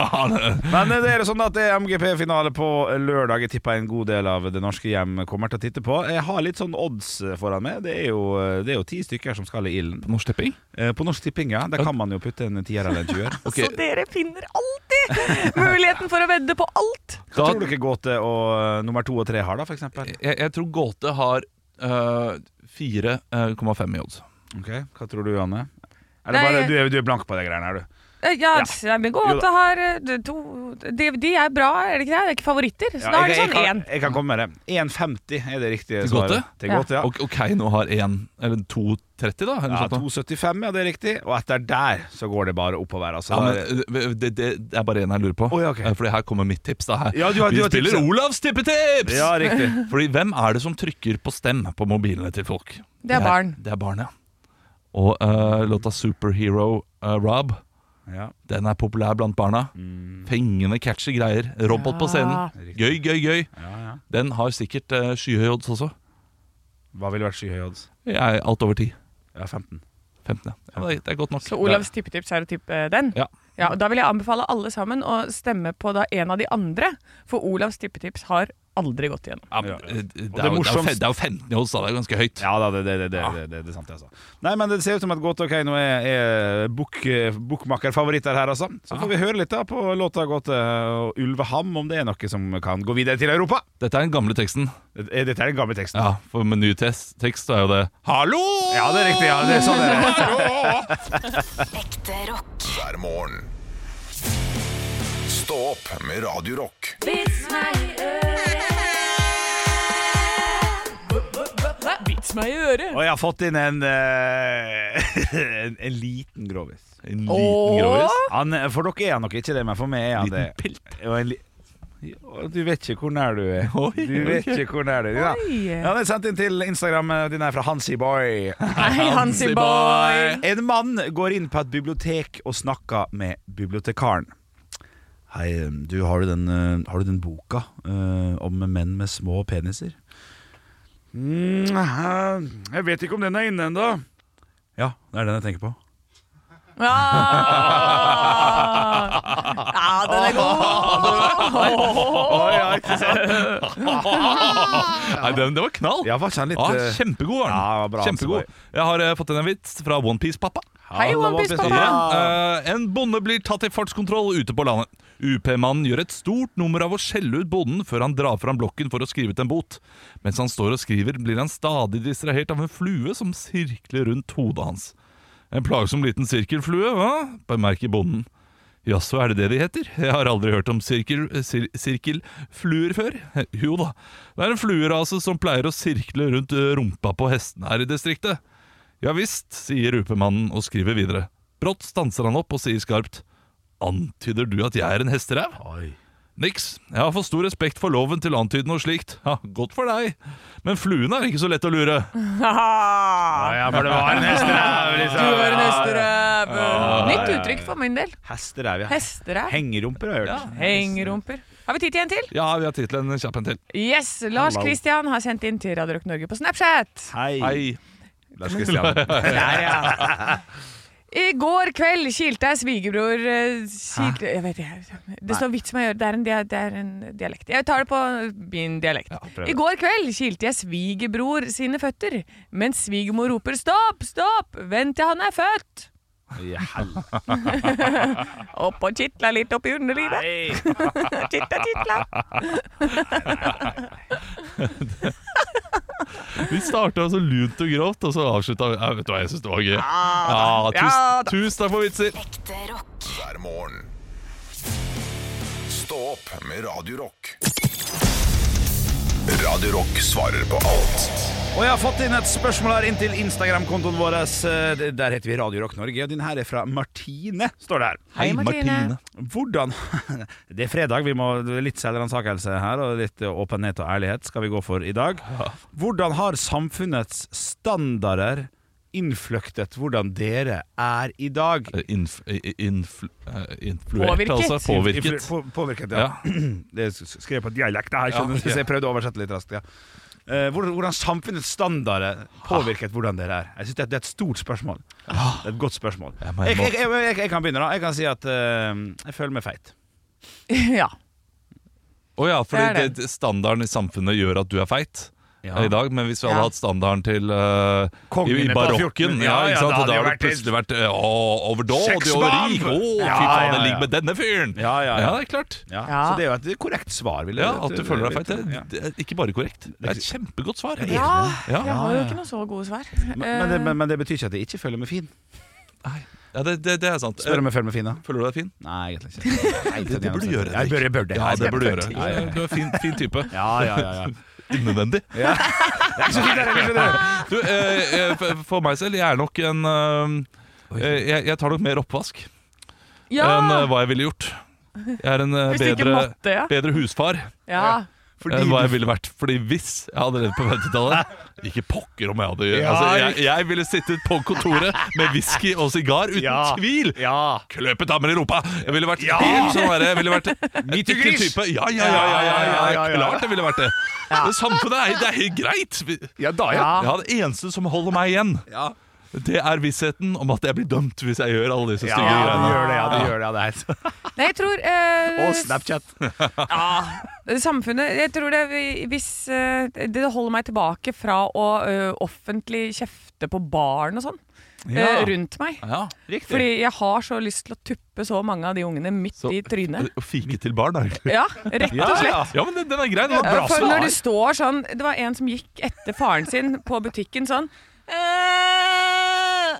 [SPEAKER 2] Men eh, det er jo sånn at det er MGP-finale på lørdag. Jeg tipper en god del av det norske hjem kommer til å titte på. Jeg har litt sånn odds foran meg. Det er jo, eh, det er jo ti stykker som skal i ilden.
[SPEAKER 4] Norsk Tipping?
[SPEAKER 2] Eh, På Norsk Tipping, ja. Der kan man jo putte en tier eller en tjuer.
[SPEAKER 4] Ok.
[SPEAKER 3] Så dere finner alltid muligheten for å vedde på alt!
[SPEAKER 2] Hva
[SPEAKER 4] Da- Eh.
[SPEAKER 2] tror dere Gåte og eh, nummer to og tre har, da, for eksempel?
[SPEAKER 4] Jeg, jeg tror Gåte har øh, 4,5 i odds.
[SPEAKER 2] Ok, Hva tror du, Anne? Eller
[SPEAKER 3] Nei,
[SPEAKER 2] bare,
[SPEAKER 3] jeg-
[SPEAKER 2] du, er, du er blank på de greiene her, du.
[SPEAKER 3] Eh, Ja, ja. men
[SPEAKER 2] Jo
[SPEAKER 3] Gåte
[SPEAKER 2] da.
[SPEAKER 3] har eh, d- to De, de er bra, er det ikke det? Det er ikke favoritter. Så
[SPEAKER 2] Ja,
[SPEAKER 3] da er det
[SPEAKER 2] jeg,
[SPEAKER 3] sånn
[SPEAKER 2] jeg,
[SPEAKER 3] én.
[SPEAKER 2] kan, jeg kan komme med det. 1,50 er det riktige
[SPEAKER 4] Til
[SPEAKER 2] svaret.
[SPEAKER 4] Gåte?
[SPEAKER 2] Til
[SPEAKER 3] Ja.
[SPEAKER 2] Gåte, ja.
[SPEAKER 4] Og, og Keiino har 1, eller 2,30 da? Eller
[SPEAKER 2] Ja,
[SPEAKER 4] sånt da.
[SPEAKER 2] 2,75, ja, det er riktig. Og etter der så går det bare oppover. Altså.
[SPEAKER 4] Ja, men
[SPEAKER 2] Der-
[SPEAKER 4] øh, det, det, det er bare en jeg lurer på.
[SPEAKER 2] Å, ja, ok.
[SPEAKER 4] Eh, Fordi her kommer mitt tips. da her
[SPEAKER 2] Ja, du har-
[SPEAKER 4] Vi
[SPEAKER 2] du har
[SPEAKER 4] spiller
[SPEAKER 2] tipset.
[SPEAKER 4] Olavs tippetips!
[SPEAKER 2] ja, riktig.
[SPEAKER 4] Fordi hvem er det som trykker på stem på mobilene til folk?
[SPEAKER 3] Det er barn.
[SPEAKER 4] Det er barn, ja. Og eh, låta 'Superhero eh, Rob'
[SPEAKER 2] Ja.
[SPEAKER 4] den er populær blant barna.
[SPEAKER 2] Mm.
[SPEAKER 4] Fengende, catchy greier. Robot
[SPEAKER 3] Ja.
[SPEAKER 4] på scenen. Gøy, gøy, gøy.
[SPEAKER 2] Ja, ja.
[SPEAKER 4] Den har sikkert uh, skyhøy odds også.
[SPEAKER 2] Hva ville vært skyhøye odds?
[SPEAKER 4] Jeg er alt over 10.
[SPEAKER 2] Ja, 15.
[SPEAKER 4] 15, ja. ja men det, er- det er godt nok.
[SPEAKER 3] Så Olavs tippetips er å tippe eh, den?
[SPEAKER 4] Ja.
[SPEAKER 3] Ja, og Da vil jeg anbefale alle sammen å stemme på da en av de andre, for Olavs tippetips har aldri gått igjennom.
[SPEAKER 4] Ja, men,
[SPEAKER 2] Ja.
[SPEAKER 4] eh, det, er jo-
[SPEAKER 2] Og det
[SPEAKER 4] det, er jo
[SPEAKER 2] morsomste-
[SPEAKER 4] fe- det er jo 15 i odds, da. Det er ganske høyt.
[SPEAKER 2] Ja da, det, det, det, det, det, det, er sant, det, altså. Nei, men det ser ut som at Gåte og Keiino er, er book, bookmakerfavoritter her, altså. Så får vi høre litt da på låta Gåte og Ulveham, om det er noe som kan gå videre til Europa.
[SPEAKER 4] Dette er den gamle teksten.
[SPEAKER 2] Dette er den gamle teksten.
[SPEAKER 4] Ja, for med ny test, tekst er jo det 'Hallo!'
[SPEAKER 2] Ja, det er riktig. Ja, det er sånn det er.
[SPEAKER 5] Ekte rock.
[SPEAKER 1] hver morgen. Stå opp med Radio Rock.
[SPEAKER 3] Vits meg i øret!
[SPEAKER 2] Og jeg har fått inn en, eh, en, en liten grovis.
[SPEAKER 4] En liten
[SPEAKER 3] Åh.
[SPEAKER 4] grovis.
[SPEAKER 2] Han, eh, for dere er han nok ikke det, men for meg er han det.
[SPEAKER 4] Liten pilt.
[SPEAKER 2] Og en li Å, du vet ikke hvor nær du er.
[SPEAKER 4] Oi,
[SPEAKER 2] Du vet
[SPEAKER 4] ok.
[SPEAKER 2] ikke hvor nær du er. Ja.
[SPEAKER 3] Oi.
[SPEAKER 2] Ja, den er sendt inn til Instagram. eh, Den er fra Hansi Boy.
[SPEAKER 3] Hei, Hansi
[SPEAKER 4] Hansi
[SPEAKER 3] boy!
[SPEAKER 2] En mann går inn på et bibliotek og snakker med bibliotekaren. Hei, um, du, har du den, eh, har du den boka eh, om menn med små peniser? Mm, jeg vet ikke om den er inne ennå. Ja, det er den jeg tenker på.
[SPEAKER 3] Ah! Ja, den er god!
[SPEAKER 4] Nei, den, det var knall.
[SPEAKER 2] Ja, var ikke han litt
[SPEAKER 4] Ah,
[SPEAKER 2] eh,
[SPEAKER 4] kjempegod var den.
[SPEAKER 2] Ja, bra,
[SPEAKER 4] kjempegod.
[SPEAKER 2] Hansi
[SPEAKER 4] Jeg har eh, fått inn en vits fra Onepiece-pappa.
[SPEAKER 3] Hei, One Piece, pappa.
[SPEAKER 4] Eh, en bonde blir tatt i fartskontroll ute på landet. UP-mannen gjør et stort nummer av å skjelle ut bonden før han drar fram blokken for å skrive ut en bot. Mens han står og skriver, blir han stadig distrahert av en flue som sirkler rundt hodet hans. En plagsom liten sirkelflue, hva? bemerker bonden. Jaså, er det det de heter? Jeg har aldri hørt om sirkel, sir, sirkelfluer før. Jo da, det er en fluerase som pleier å sirkle rundt eh, rumpa på hestene her i distriktet. Ja visst, sier rupemannen og skriver videre. Brått stanser han opp og sier skarpt. Antyder du at jeg er en hesteræv?
[SPEAKER 2] Oi.
[SPEAKER 4] Niks. Jeg har for stor respekt for loven til å antyde noe slikt. Ja, Godt for deg. Men fluene er ikke så lett å lure.
[SPEAKER 3] Haha.
[SPEAKER 2] ja, liksom. for det var en hesteræv,
[SPEAKER 3] Du er en hesteræv. Nytt uttrykk for min del.
[SPEAKER 2] Hesteræv, ja.
[SPEAKER 3] Hesteræv.
[SPEAKER 2] Hengerumper har jeg hørt.
[SPEAKER 3] Hengerumper. Har vi tid til en til?
[SPEAKER 4] Ja, vi har tittelen kjapp en til.
[SPEAKER 3] Yes, Lars
[SPEAKER 2] Hello.
[SPEAKER 3] Kristian har sendt inn til Radio Rock Norge på Snapchat.
[SPEAKER 2] Hei.
[SPEAKER 4] Hei.
[SPEAKER 2] Lars Kristian.
[SPEAKER 3] Der, ja. I går kveld kilte jeg svigerbror eh, kilte, Jeg vet ikke. Det står vits med å gjøre det. Er en, dia- det er en dialekt. Jeg tar det på min dialekt.
[SPEAKER 2] prøv det.
[SPEAKER 3] I går kveld kilte jeg svigerbror sine føtter, mens svigermor roper 'stopp, stopp, vent til han er født'.
[SPEAKER 2] I hel-
[SPEAKER 3] Opp og kitla litt opp i underlivet. Kitla, kitla.
[SPEAKER 4] Vi starta så lunt og grovt, og så avslutta vi ja, Vet du hva, jeg syns det var gøy. Ja,
[SPEAKER 3] Ja,
[SPEAKER 4] tusen,
[SPEAKER 3] da.
[SPEAKER 4] tusen takk for vitser.
[SPEAKER 5] Ekte rock.
[SPEAKER 1] hver morgen. Stå opp med Radio Rock. Radio Rock svarer på alt.
[SPEAKER 2] Og jeg har fått inn et spørsmål her inntil Instagram-kontoen vår. Eh, det- Der heter vi Radio Rock Norge. Og din her er fra Martine, står det her.
[SPEAKER 3] Hei, Martine.
[SPEAKER 2] Hvordan Det er fredag, vi må det er litt selvransakelse her, og litt åpenhet og ærlighet skal vi gå for i dag. Hvordan har samfunnets standarder innfløktet hvordan dere er i dag?
[SPEAKER 4] Eh, Inf, eh, influ, eh, influert,
[SPEAKER 3] Påvirket.
[SPEAKER 4] altså. Påvirket.
[SPEAKER 2] Influ- på- Påvirket, ja.
[SPEAKER 4] Ja.
[SPEAKER 2] Det er s- skrevet på dialekt her, skjønner
[SPEAKER 4] Ja,
[SPEAKER 2] du, så jeg prøvde å oversette litt raskt. ja Eh, hvordan, hvordan samfunnets standarder påvirket hvordan dere er? Jeg synes det, er- det er et stort spørsmål. Det er Et godt spørsmål.
[SPEAKER 4] Ja,
[SPEAKER 2] Jeg,
[SPEAKER 4] men Ah. jeg
[SPEAKER 2] jeg,
[SPEAKER 4] må-
[SPEAKER 2] jeg, jeg, jeg kan begynne, da. Jeg kan si at eh, jeg føler meg feit.
[SPEAKER 3] Ja.
[SPEAKER 4] Å ja,
[SPEAKER 3] Det er
[SPEAKER 4] fordi
[SPEAKER 3] det.
[SPEAKER 4] det, standarden i samfunnet gjør at du er feit.
[SPEAKER 2] Ja.
[SPEAKER 4] i dag, men hvis vi hadde
[SPEAKER 3] Ja.
[SPEAKER 4] hatt standarden til eh, i,
[SPEAKER 2] Kongene
[SPEAKER 4] i
[SPEAKER 2] på
[SPEAKER 4] barokken, ja,
[SPEAKER 2] 14, ja, ja,
[SPEAKER 4] ikke sant? og
[SPEAKER 2] da
[SPEAKER 4] da
[SPEAKER 2] hadde
[SPEAKER 4] har
[SPEAKER 2] det
[SPEAKER 4] det plutselig vært eh, å, overdådig og
[SPEAKER 2] Sexbarn!
[SPEAKER 4] rik, å, fy
[SPEAKER 2] Ja,
[SPEAKER 4] faen,
[SPEAKER 2] ja,
[SPEAKER 4] det
[SPEAKER 2] ja.
[SPEAKER 4] ligger med denne fyren!
[SPEAKER 2] Ja, ja, ja.
[SPEAKER 4] det er klart.
[SPEAKER 2] Ja.
[SPEAKER 3] Ja.
[SPEAKER 2] Så det er jo et korrekt svar. Vil jeg,
[SPEAKER 4] Ja, At du føler deg feit,
[SPEAKER 2] Ja.
[SPEAKER 4] det, det er ikke bare korrekt, det er et kjempegodt svar.
[SPEAKER 3] ja.
[SPEAKER 4] Ja.
[SPEAKER 3] Jeg har jo ikke noen så gode svar.
[SPEAKER 2] Men, men, det, men, men det betyr ikke at jeg ikke føler meg fin.
[SPEAKER 4] Ja, det, det, det er sant.
[SPEAKER 2] Spør om jeg føler meg fin, da.
[SPEAKER 4] Føler du deg fin?
[SPEAKER 2] Nei, egentlig ikke. Nei,
[SPEAKER 4] Det, det burde du gjøre.
[SPEAKER 2] Jeg bør, jeg bør det.
[SPEAKER 4] Ja, det burde du gjøre.
[SPEAKER 2] Ja, ja, ja.
[SPEAKER 4] Du er en fin, fin type.
[SPEAKER 2] Ja, ja, ja, ja.
[SPEAKER 4] Innvendig.
[SPEAKER 2] Det er ikke så fint, det heller.
[SPEAKER 4] Du, eh, eh, for- for meg selv, jeg er nok en eh, eh, jeg, jeg tar nok mer oppvask
[SPEAKER 3] Ja!
[SPEAKER 4] enn eh, hva jeg ville gjort. Jeg er en eh,
[SPEAKER 3] Hvis du ikke
[SPEAKER 4] bedre,
[SPEAKER 3] måtte, ja.
[SPEAKER 4] bedre husfar
[SPEAKER 3] ja.
[SPEAKER 4] enn hva jeg ville vært. Fordi hvis jeg hadde levd på 50-tallet Ikke pokker om jeg hadde
[SPEAKER 2] Ja,
[SPEAKER 4] altså, jeg, jeg ville sittet på kontoret med whisky og sigar, uten
[SPEAKER 2] Ja.
[SPEAKER 4] tvil!
[SPEAKER 2] Ja.
[SPEAKER 4] Kløpet damer i rumpa! Jeg ville vært helt sånn der, jeg ville vært ikke
[SPEAKER 2] gris!
[SPEAKER 4] type. Ja, ja, ja, ja, ja, ja,
[SPEAKER 2] Ja, ja, ja.
[SPEAKER 4] klart jeg ville vært det. Det samfunnet er, det er helt greit. Vi-
[SPEAKER 2] Ja, da, ja.
[SPEAKER 4] Ja, Det eneste som holder meg igjen,
[SPEAKER 2] Ja,
[SPEAKER 4] det er vissheten om at jeg blir dømt hvis jeg gjør alle disse
[SPEAKER 2] ja,
[SPEAKER 4] stygge
[SPEAKER 2] du
[SPEAKER 4] greiene.
[SPEAKER 2] gjør det. Ja, du gjør det, ja, det er helt-
[SPEAKER 3] Nei, jeg tror eh,
[SPEAKER 2] Og Snapchat.
[SPEAKER 3] Det Samfunnet Jeg tror det vi- Hvis eh, Det holder meg tilbake fra å eh, offentlig kjefte på barn og sånn eh,
[SPEAKER 4] Ja.
[SPEAKER 3] rundt meg.
[SPEAKER 4] Ja,
[SPEAKER 3] Fordi jeg har så lyst til å tuppe så mange av de ungene midt
[SPEAKER 4] Så-
[SPEAKER 3] i trynet.
[SPEAKER 4] Å fike til barn, da. egentlig.
[SPEAKER 3] Ja, rett og slett.
[SPEAKER 4] Ja, men den, den er grei. Den var
[SPEAKER 3] Eh,
[SPEAKER 4] bra
[SPEAKER 3] For når
[SPEAKER 4] svar.
[SPEAKER 3] du står sånn Det var en som gikk etter faren sin på butikken sånn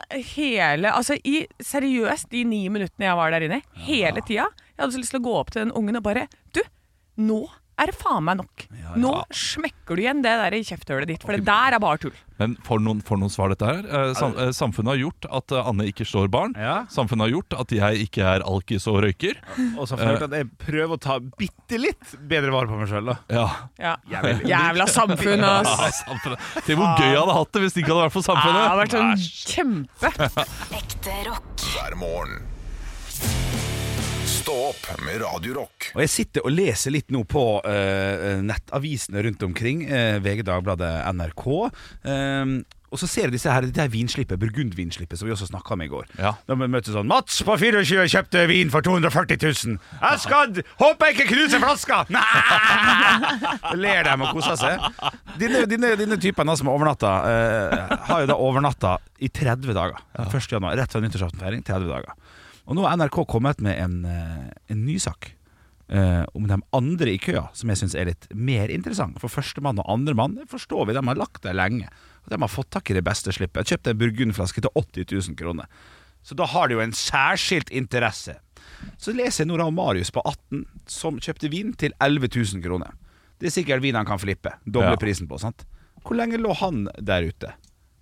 [SPEAKER 3] eh, Hele Altså i seriøst de ni minuttene jeg var der inne, hele tida. Jeg hadde så lyst til å gå opp til den ungen og bare Du, nå er det faen meg nok. Nå smekker du igjen det der i kjefthølet ditt, for det der er bare tull.
[SPEAKER 4] Men for noen, for noen svar dette her. Eh, sam, eh, samfunnet har gjort at eh, Anne ikke slår barn.
[SPEAKER 2] Ja.
[SPEAKER 4] Samfunnet har gjort at jeg ikke er alkis og røyker.
[SPEAKER 2] Og så følte jeg at jeg prøver å ta bitte litt bedre vare på meg sjøl, da.
[SPEAKER 4] Ja.
[SPEAKER 3] Ja. Jævla samfunn, ass.
[SPEAKER 4] Ja, samfunnet. Tenk hvor gøy jeg hadde hatt det hvis det ikke hadde vært for
[SPEAKER 3] Det har
[SPEAKER 4] samfunnet.
[SPEAKER 3] vært sånn kjempe
[SPEAKER 5] Ekte rock.
[SPEAKER 1] hver morgen. Stå opp med Radio Rock.
[SPEAKER 2] Og jeg sitter og leser litt nå på eh, nettavisene rundt omkring. eh, VG, Dagbladet, NRK. eh, og så ser jeg disse her, dette her vinslippet, burgundvinslippet, som vi også snakka om i går.
[SPEAKER 4] Ja.
[SPEAKER 2] Da vi møtte sånn Mats på 24 kjøpte vin for 240 000. Jeg skal Håper jeg ikke knuser flaska! Nei! Ler dem og koser seg. Dine, dine, dine typene som har overnatta, eh, har jo da overnatta i 30 dager. 1. januar, rett fra nyttårsaftenfeiring. 30 dager. Og nå har NRK kommet med en, eh, en ny sak. eh, om de andre i køa, som jeg syns er litt mer interessant. For førstemann og andremann det forstår vi, de har lagt der lenge. Og de har fått tak i det beste slippet. Kjøpt en burgundflaske til 80 000 kroner. Så da har det jo en særskilt interesse. Så leser jeg nå da om Marius på 18 som kjøpte vin til 11 000 kroner. Det er sikkert vin han kan flippe. Doble
[SPEAKER 4] Ja.
[SPEAKER 2] prisen på, sant? Hvor lenge lå han der ute?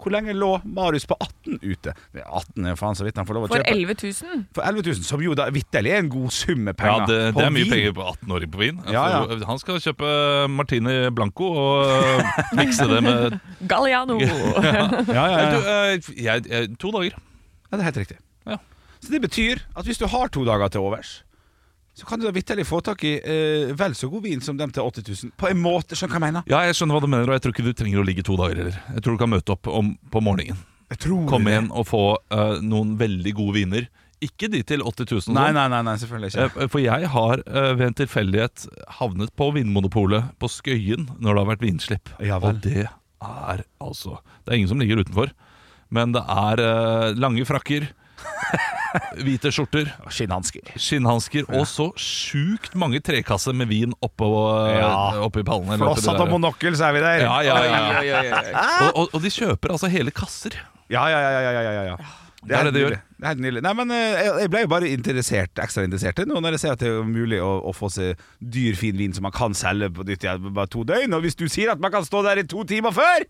[SPEAKER 2] Hvor lenge lå Marius på 18 ute? Det er 18 er jo faen så vidt han får lov å
[SPEAKER 3] For
[SPEAKER 2] kjøpe.
[SPEAKER 3] 11 000?
[SPEAKER 2] For 11 000, som jo da vitterlig er en god sum med
[SPEAKER 4] Ja,
[SPEAKER 2] penger.
[SPEAKER 4] det,
[SPEAKER 2] på
[SPEAKER 4] det er mye
[SPEAKER 2] vin.
[SPEAKER 4] penger på 18-åring på vin.
[SPEAKER 2] Ja,
[SPEAKER 4] Altså, Han skal kjøpe Martini Blanco og mikse det med
[SPEAKER 3] Galliano!
[SPEAKER 2] Ja, ja, ja.
[SPEAKER 4] Du, eh, jeg, jeg, To dager.
[SPEAKER 2] Ja, det er helt riktig.
[SPEAKER 4] Ja.
[SPEAKER 2] Så det betyr at hvis du har to dager til overs, så kan du da vitterlig få tak i eh, vel så god vin som dem til 80 000. På en måte, skjønner du hva jeg mener?
[SPEAKER 4] Ja, jeg skjønner hva du mener, og jeg tror ikke du trenger å ligge to dager heller. Jeg tror du kan møte opp om, på morgenen,
[SPEAKER 2] Jeg tror
[SPEAKER 4] komme inn og få eh, noen veldig gode viner. Ikke de til 80 000 og
[SPEAKER 2] Nei,
[SPEAKER 4] sånn.
[SPEAKER 2] nei, nei, nei selvfølgelig ikke.
[SPEAKER 4] Eh, For jeg har eh, ved en tilfeldighet havnet på Vinmonopolet på Skøyen når det har vært vinslipp.
[SPEAKER 2] Ja vel.
[SPEAKER 4] og det er altså Det er ingen som ligger utenfor, men det er eh, lange frakker, hvite skjorter,
[SPEAKER 2] Skinnhansker.
[SPEAKER 4] skinnhansker og så sjukt mange trekasser med vin oppå,
[SPEAKER 2] Ja.
[SPEAKER 4] oppå i pallene. eller oppi det
[SPEAKER 2] Flossatt og
[SPEAKER 4] der.
[SPEAKER 2] monokkel, så er vi der.
[SPEAKER 4] Ja, ja, ja.
[SPEAKER 2] Oi, oi, oi, oi.
[SPEAKER 4] og, og, og de kjøper altså hele kasser.
[SPEAKER 2] Ja, ja, ja, ja, ja, ja, ja.
[SPEAKER 4] Det er det de
[SPEAKER 2] helt nydelig. Det er helt nydelig. Nei, men eh, jeg- jeg ble jo bare interessert, ekstra interessert i det nå når jeg ser at det er mulig å, å få seg dyr, fin vin som man kan selge på nytt igjen bare to døgn. Og hvis du sier at man kan stå der i to timer før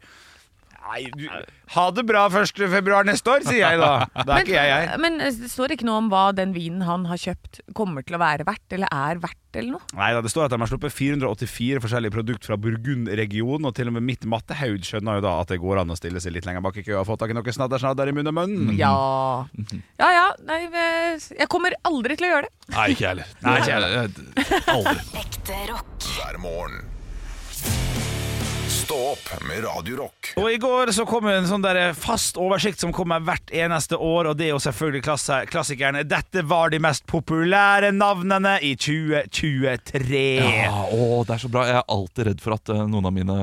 [SPEAKER 2] Nei, du, ha det bra 1. februar neste år, sier jeg da. Da er ikke jeg jeg.
[SPEAKER 3] Men eh, det står ikke noe om hva den vinen han har kjøpt, kommer til å være verdt, eller er verdt, eller noe?
[SPEAKER 2] Nei da, det står at de har sluppet 484 forskjellige produkt fra Burgund-regionen, og til og med mitt mattehaud skjønner jo da at det går an å stille seg litt lenger bak i køa og få tak i noe snadder-snadder i munnen og munnen.
[SPEAKER 3] Ja. Ja ja, nei, eh, jeg kommer aldri til å gjøre det.
[SPEAKER 4] Nei, ikke jeg heller.
[SPEAKER 2] Nei, ikke jeg
[SPEAKER 4] Eh, jeg- Aldri.
[SPEAKER 5] Ekte rock.
[SPEAKER 1] hver morgen. Stå opp med Radio Rock.
[SPEAKER 2] Og i går så kom en sånn der fast oversikt som kommer hvert eneste år, og det er jo selvfølgelig klasse- klassikerne. Dette var de mest populære navnene i 2023.
[SPEAKER 4] Ja, å, det er så bra. Jeg er alltid redd for at eh, noen av mine,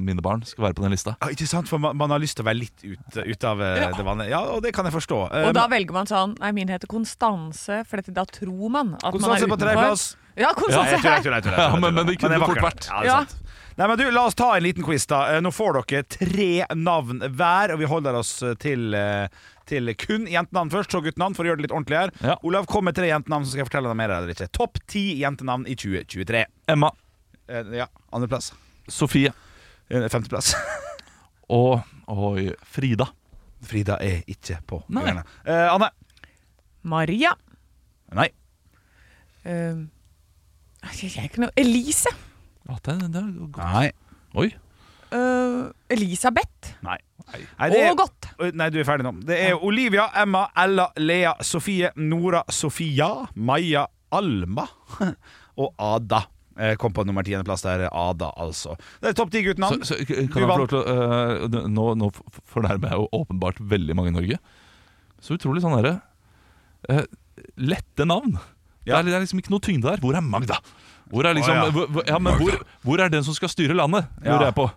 [SPEAKER 4] mine barn skal være på den lista.
[SPEAKER 2] Ja, ikke sant? For man, man har lyst til å være litt ut, ut av eh, det vanlige. Ja, og det kan jeg forstå.
[SPEAKER 3] Og da velger man sånn Nei, min heter Konstanse, for dette, da tror man at
[SPEAKER 2] Konstanse på
[SPEAKER 3] man er
[SPEAKER 2] tredjeplass.
[SPEAKER 3] Ja,
[SPEAKER 2] Nei,
[SPEAKER 3] Konstanse
[SPEAKER 2] jeg tror jeg,
[SPEAKER 3] her.
[SPEAKER 2] tror jeg, tror jeg, tror jeg, tror jeg.
[SPEAKER 4] Ja, men- men det kunne
[SPEAKER 2] er
[SPEAKER 4] fort
[SPEAKER 2] vakker.
[SPEAKER 4] vært.
[SPEAKER 2] Ja, det er
[SPEAKER 3] Ja.
[SPEAKER 2] sant. Nei, men du, La oss ta en liten quiz. da Eh, Nå får dere tre navn hver, og vi holder oss til, eh, til kun jentenavn først, så guttenavn, for å gjøre det litt ordentlig her.
[SPEAKER 4] Ja.
[SPEAKER 2] Olav, kom med tre jentenavn, så skal jeg fortelle deg mer. eller ikke Topp ti jentenavn i 2023.
[SPEAKER 4] Emma,
[SPEAKER 2] Eh, Ja, Andreplass.
[SPEAKER 4] Sofie
[SPEAKER 2] Eh, Femteplass.
[SPEAKER 4] og, og Frida.
[SPEAKER 2] Frida er ikke på.
[SPEAKER 4] Nei.
[SPEAKER 2] greiene. Eh, Anne.
[SPEAKER 3] Maria.
[SPEAKER 2] Nei.
[SPEAKER 3] Eh, jeg er ikke noe Elise.
[SPEAKER 4] Ja, den, den, er god.
[SPEAKER 2] Nei.
[SPEAKER 4] Oi.
[SPEAKER 3] Eh, Elisabeth.
[SPEAKER 2] Nei.
[SPEAKER 3] Og godt.
[SPEAKER 2] Nei, du er ferdig nå. Det er Olivia, Emma, Ella, Lea, Sofie, Nora, Sofia, Maja, Alma og Ada. Eh, Kom på nummer tiendeplass der. Ada, altså. Det er topp ti
[SPEAKER 4] Så,
[SPEAKER 2] guttenavn.
[SPEAKER 4] så, kan jeg
[SPEAKER 2] Du
[SPEAKER 4] få lov
[SPEAKER 2] vant.
[SPEAKER 4] til å eh, Nå, nå f- fornærmer jeg jo åpenbart veldig mange i Norge. Så utrolig sånn derre eh, Lette navn.
[SPEAKER 2] Ja.
[SPEAKER 4] Det, er, det er liksom ikke noe tyngde der. Hvor er Magda? Hvor er, liksom,
[SPEAKER 2] Å, ja.
[SPEAKER 4] hvor- hvor, ja, men hvor, hvor er den som skal styre landet?
[SPEAKER 2] Ja.
[SPEAKER 4] Lurer jeg på.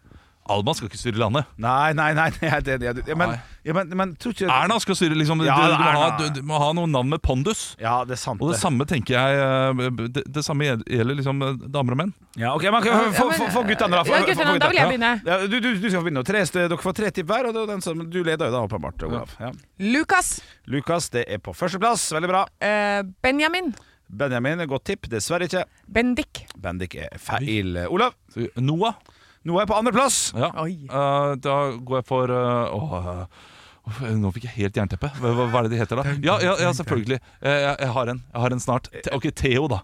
[SPEAKER 4] Alma skal ikke styre landet.
[SPEAKER 2] Nei, nei, nei. nei jeg er enig, jeg er- ja, men,
[SPEAKER 4] Nei.
[SPEAKER 2] ja, men, men tror ikke
[SPEAKER 4] Erna skal styre, liksom.
[SPEAKER 2] Ja,
[SPEAKER 4] du, du,
[SPEAKER 2] det er
[SPEAKER 4] må ha,
[SPEAKER 2] Erna.
[SPEAKER 4] du, du må ha noen navn med pondus.
[SPEAKER 2] Ja, det er sant.
[SPEAKER 4] Og det
[SPEAKER 2] det.
[SPEAKER 4] samme tenker jeg eh, Det, det samme gjel- gjelder liksom eh, damer og menn.
[SPEAKER 2] Ja, ok, men
[SPEAKER 3] Ja,
[SPEAKER 2] Få
[SPEAKER 3] men-
[SPEAKER 2] få- få guttene, da. Få-
[SPEAKER 3] Ja,
[SPEAKER 2] få- få
[SPEAKER 3] guttene, da vil jeg begynne.
[SPEAKER 2] Ja, du, du, du skal få begynne. nå. Tre, st- dere får tre tipp hver, og det er jo den som, du leder jo da, åpenbart. Olav. Ja.
[SPEAKER 3] Lukas.
[SPEAKER 2] Lukas, det er på førsteplass. Veldig bra.
[SPEAKER 3] eh, Benjamin.
[SPEAKER 2] Benjamin, godt tipp. Dessverre ikke.
[SPEAKER 3] Bendik.
[SPEAKER 2] Bendik er feil. Olav,
[SPEAKER 4] Så, eh, Noah.
[SPEAKER 2] nå er jeg på andreplass.
[SPEAKER 4] Ja.
[SPEAKER 3] Oi.
[SPEAKER 4] Eh, da går jeg for eh, Åh eh, åh, nå fikk jeg helt jernteppe. Hva, hva hva er det de heter, da? Ja, ja, ja selvfølgelig. Eh, jeg, jeg har en Jeg har en snart. Te, ok, Theo, da.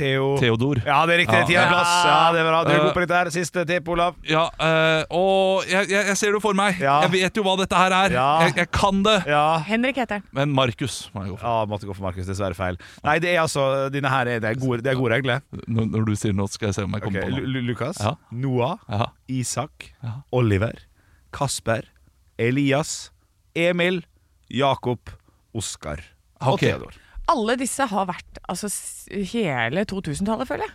[SPEAKER 2] Theo.
[SPEAKER 4] Theodor.
[SPEAKER 2] Ja, det er riktig.
[SPEAKER 4] Ja.
[SPEAKER 2] Tiendeplass. Ja, det er bra. Du er
[SPEAKER 4] Eh.
[SPEAKER 2] god på dette her. Siste tipp, Olav.
[SPEAKER 4] Ja, eh, og jeg, jeg, jeg ser det for meg.
[SPEAKER 2] Ja.
[SPEAKER 4] Jeg vet jo hva dette her er.
[SPEAKER 2] Ja.
[SPEAKER 4] Jeg, jeg kan det.
[SPEAKER 2] Ja.
[SPEAKER 3] Henrik heter han.
[SPEAKER 4] Men Markus må jeg gå for.
[SPEAKER 2] Ja, måtte gå for Markus. Dessverre feil. Nei, det er altså Dine her er, det er gode, det er gode regler.
[SPEAKER 4] Når, når du sier noe, skal jeg se om jeg
[SPEAKER 2] Ok,
[SPEAKER 4] kommer på
[SPEAKER 2] Lu-
[SPEAKER 4] noe.
[SPEAKER 2] Lu- Lukas,
[SPEAKER 4] Ja.
[SPEAKER 2] Noah,
[SPEAKER 4] Ja.
[SPEAKER 2] Isak,
[SPEAKER 4] Ja.
[SPEAKER 2] Oliver, Kasper, Elias, Emil, Jakob, Oskar og
[SPEAKER 4] Ok.
[SPEAKER 2] Theodor.
[SPEAKER 3] Alle disse har vært altså, s- hele 2000-tallet, føler jeg.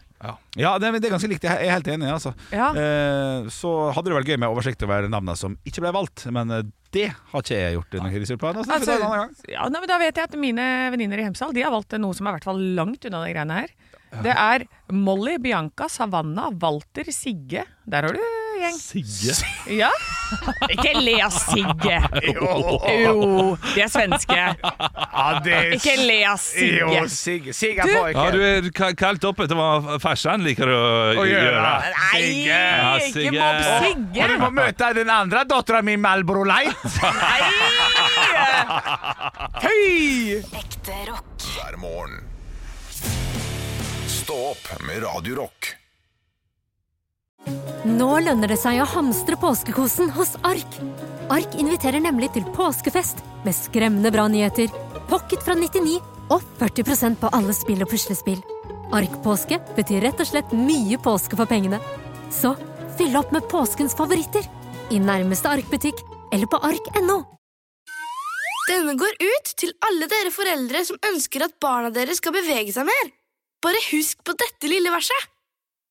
[SPEAKER 2] Ja, det, er- det er ganske likt. Jeg er helt enig. Altså.
[SPEAKER 3] Ja.
[SPEAKER 2] Eh, så hadde det vært gøy med oversikt over navnene som ikke ble valgt, men eh, det har ikke jeg gjort. Nei. Altså,
[SPEAKER 3] Altså,
[SPEAKER 2] en annen gang.
[SPEAKER 3] ja, nei, men da vet jeg at mine venninner i Hemsedal De har valgt noe som er i hvert fall langt unna de greiene her. Det er Molly, Bianca, Savanna, Walter, Sigge Der har du gjeng.
[SPEAKER 4] Sigge.
[SPEAKER 3] Ja. Ikke le av Sigge. Jo, de er svenske.
[SPEAKER 2] Ja, det er
[SPEAKER 3] Ikke le av Sigge.
[SPEAKER 2] Jo, Sigge. Sigge
[SPEAKER 3] Du-
[SPEAKER 2] pojken.
[SPEAKER 4] Ja, du er ka- kaldt oppe. Det var farsan liker å
[SPEAKER 2] Å
[SPEAKER 4] gjøre.
[SPEAKER 2] gjøre.
[SPEAKER 3] Nei,
[SPEAKER 4] Ja,
[SPEAKER 3] ikke
[SPEAKER 4] Sigge.
[SPEAKER 3] mobb
[SPEAKER 2] Og du
[SPEAKER 3] Sigge.
[SPEAKER 2] må møte den andre dattera mi, Malbro Light.
[SPEAKER 3] Nei! Høy!
[SPEAKER 5] Ekte rock.
[SPEAKER 1] hver morgen. Stå opp med Radio Rock.
[SPEAKER 7] Nå lønner det seg å hamstre påskekosen hos Ark. Ark inviterer nemlig til påskefest med skremmende bra nyheter, pocket fra 99 og 40 på alle spill og puslespill. Ark-påske betyr rett og slett mye påske for pengene. Så fyll opp med påskens favoritter i nærmeste Ark-butikk eller på ark.no.
[SPEAKER 8] Denne går ut til alle dere foreldre som ønsker at barna deres skal bevege seg mer. Bare husk på dette lille verset.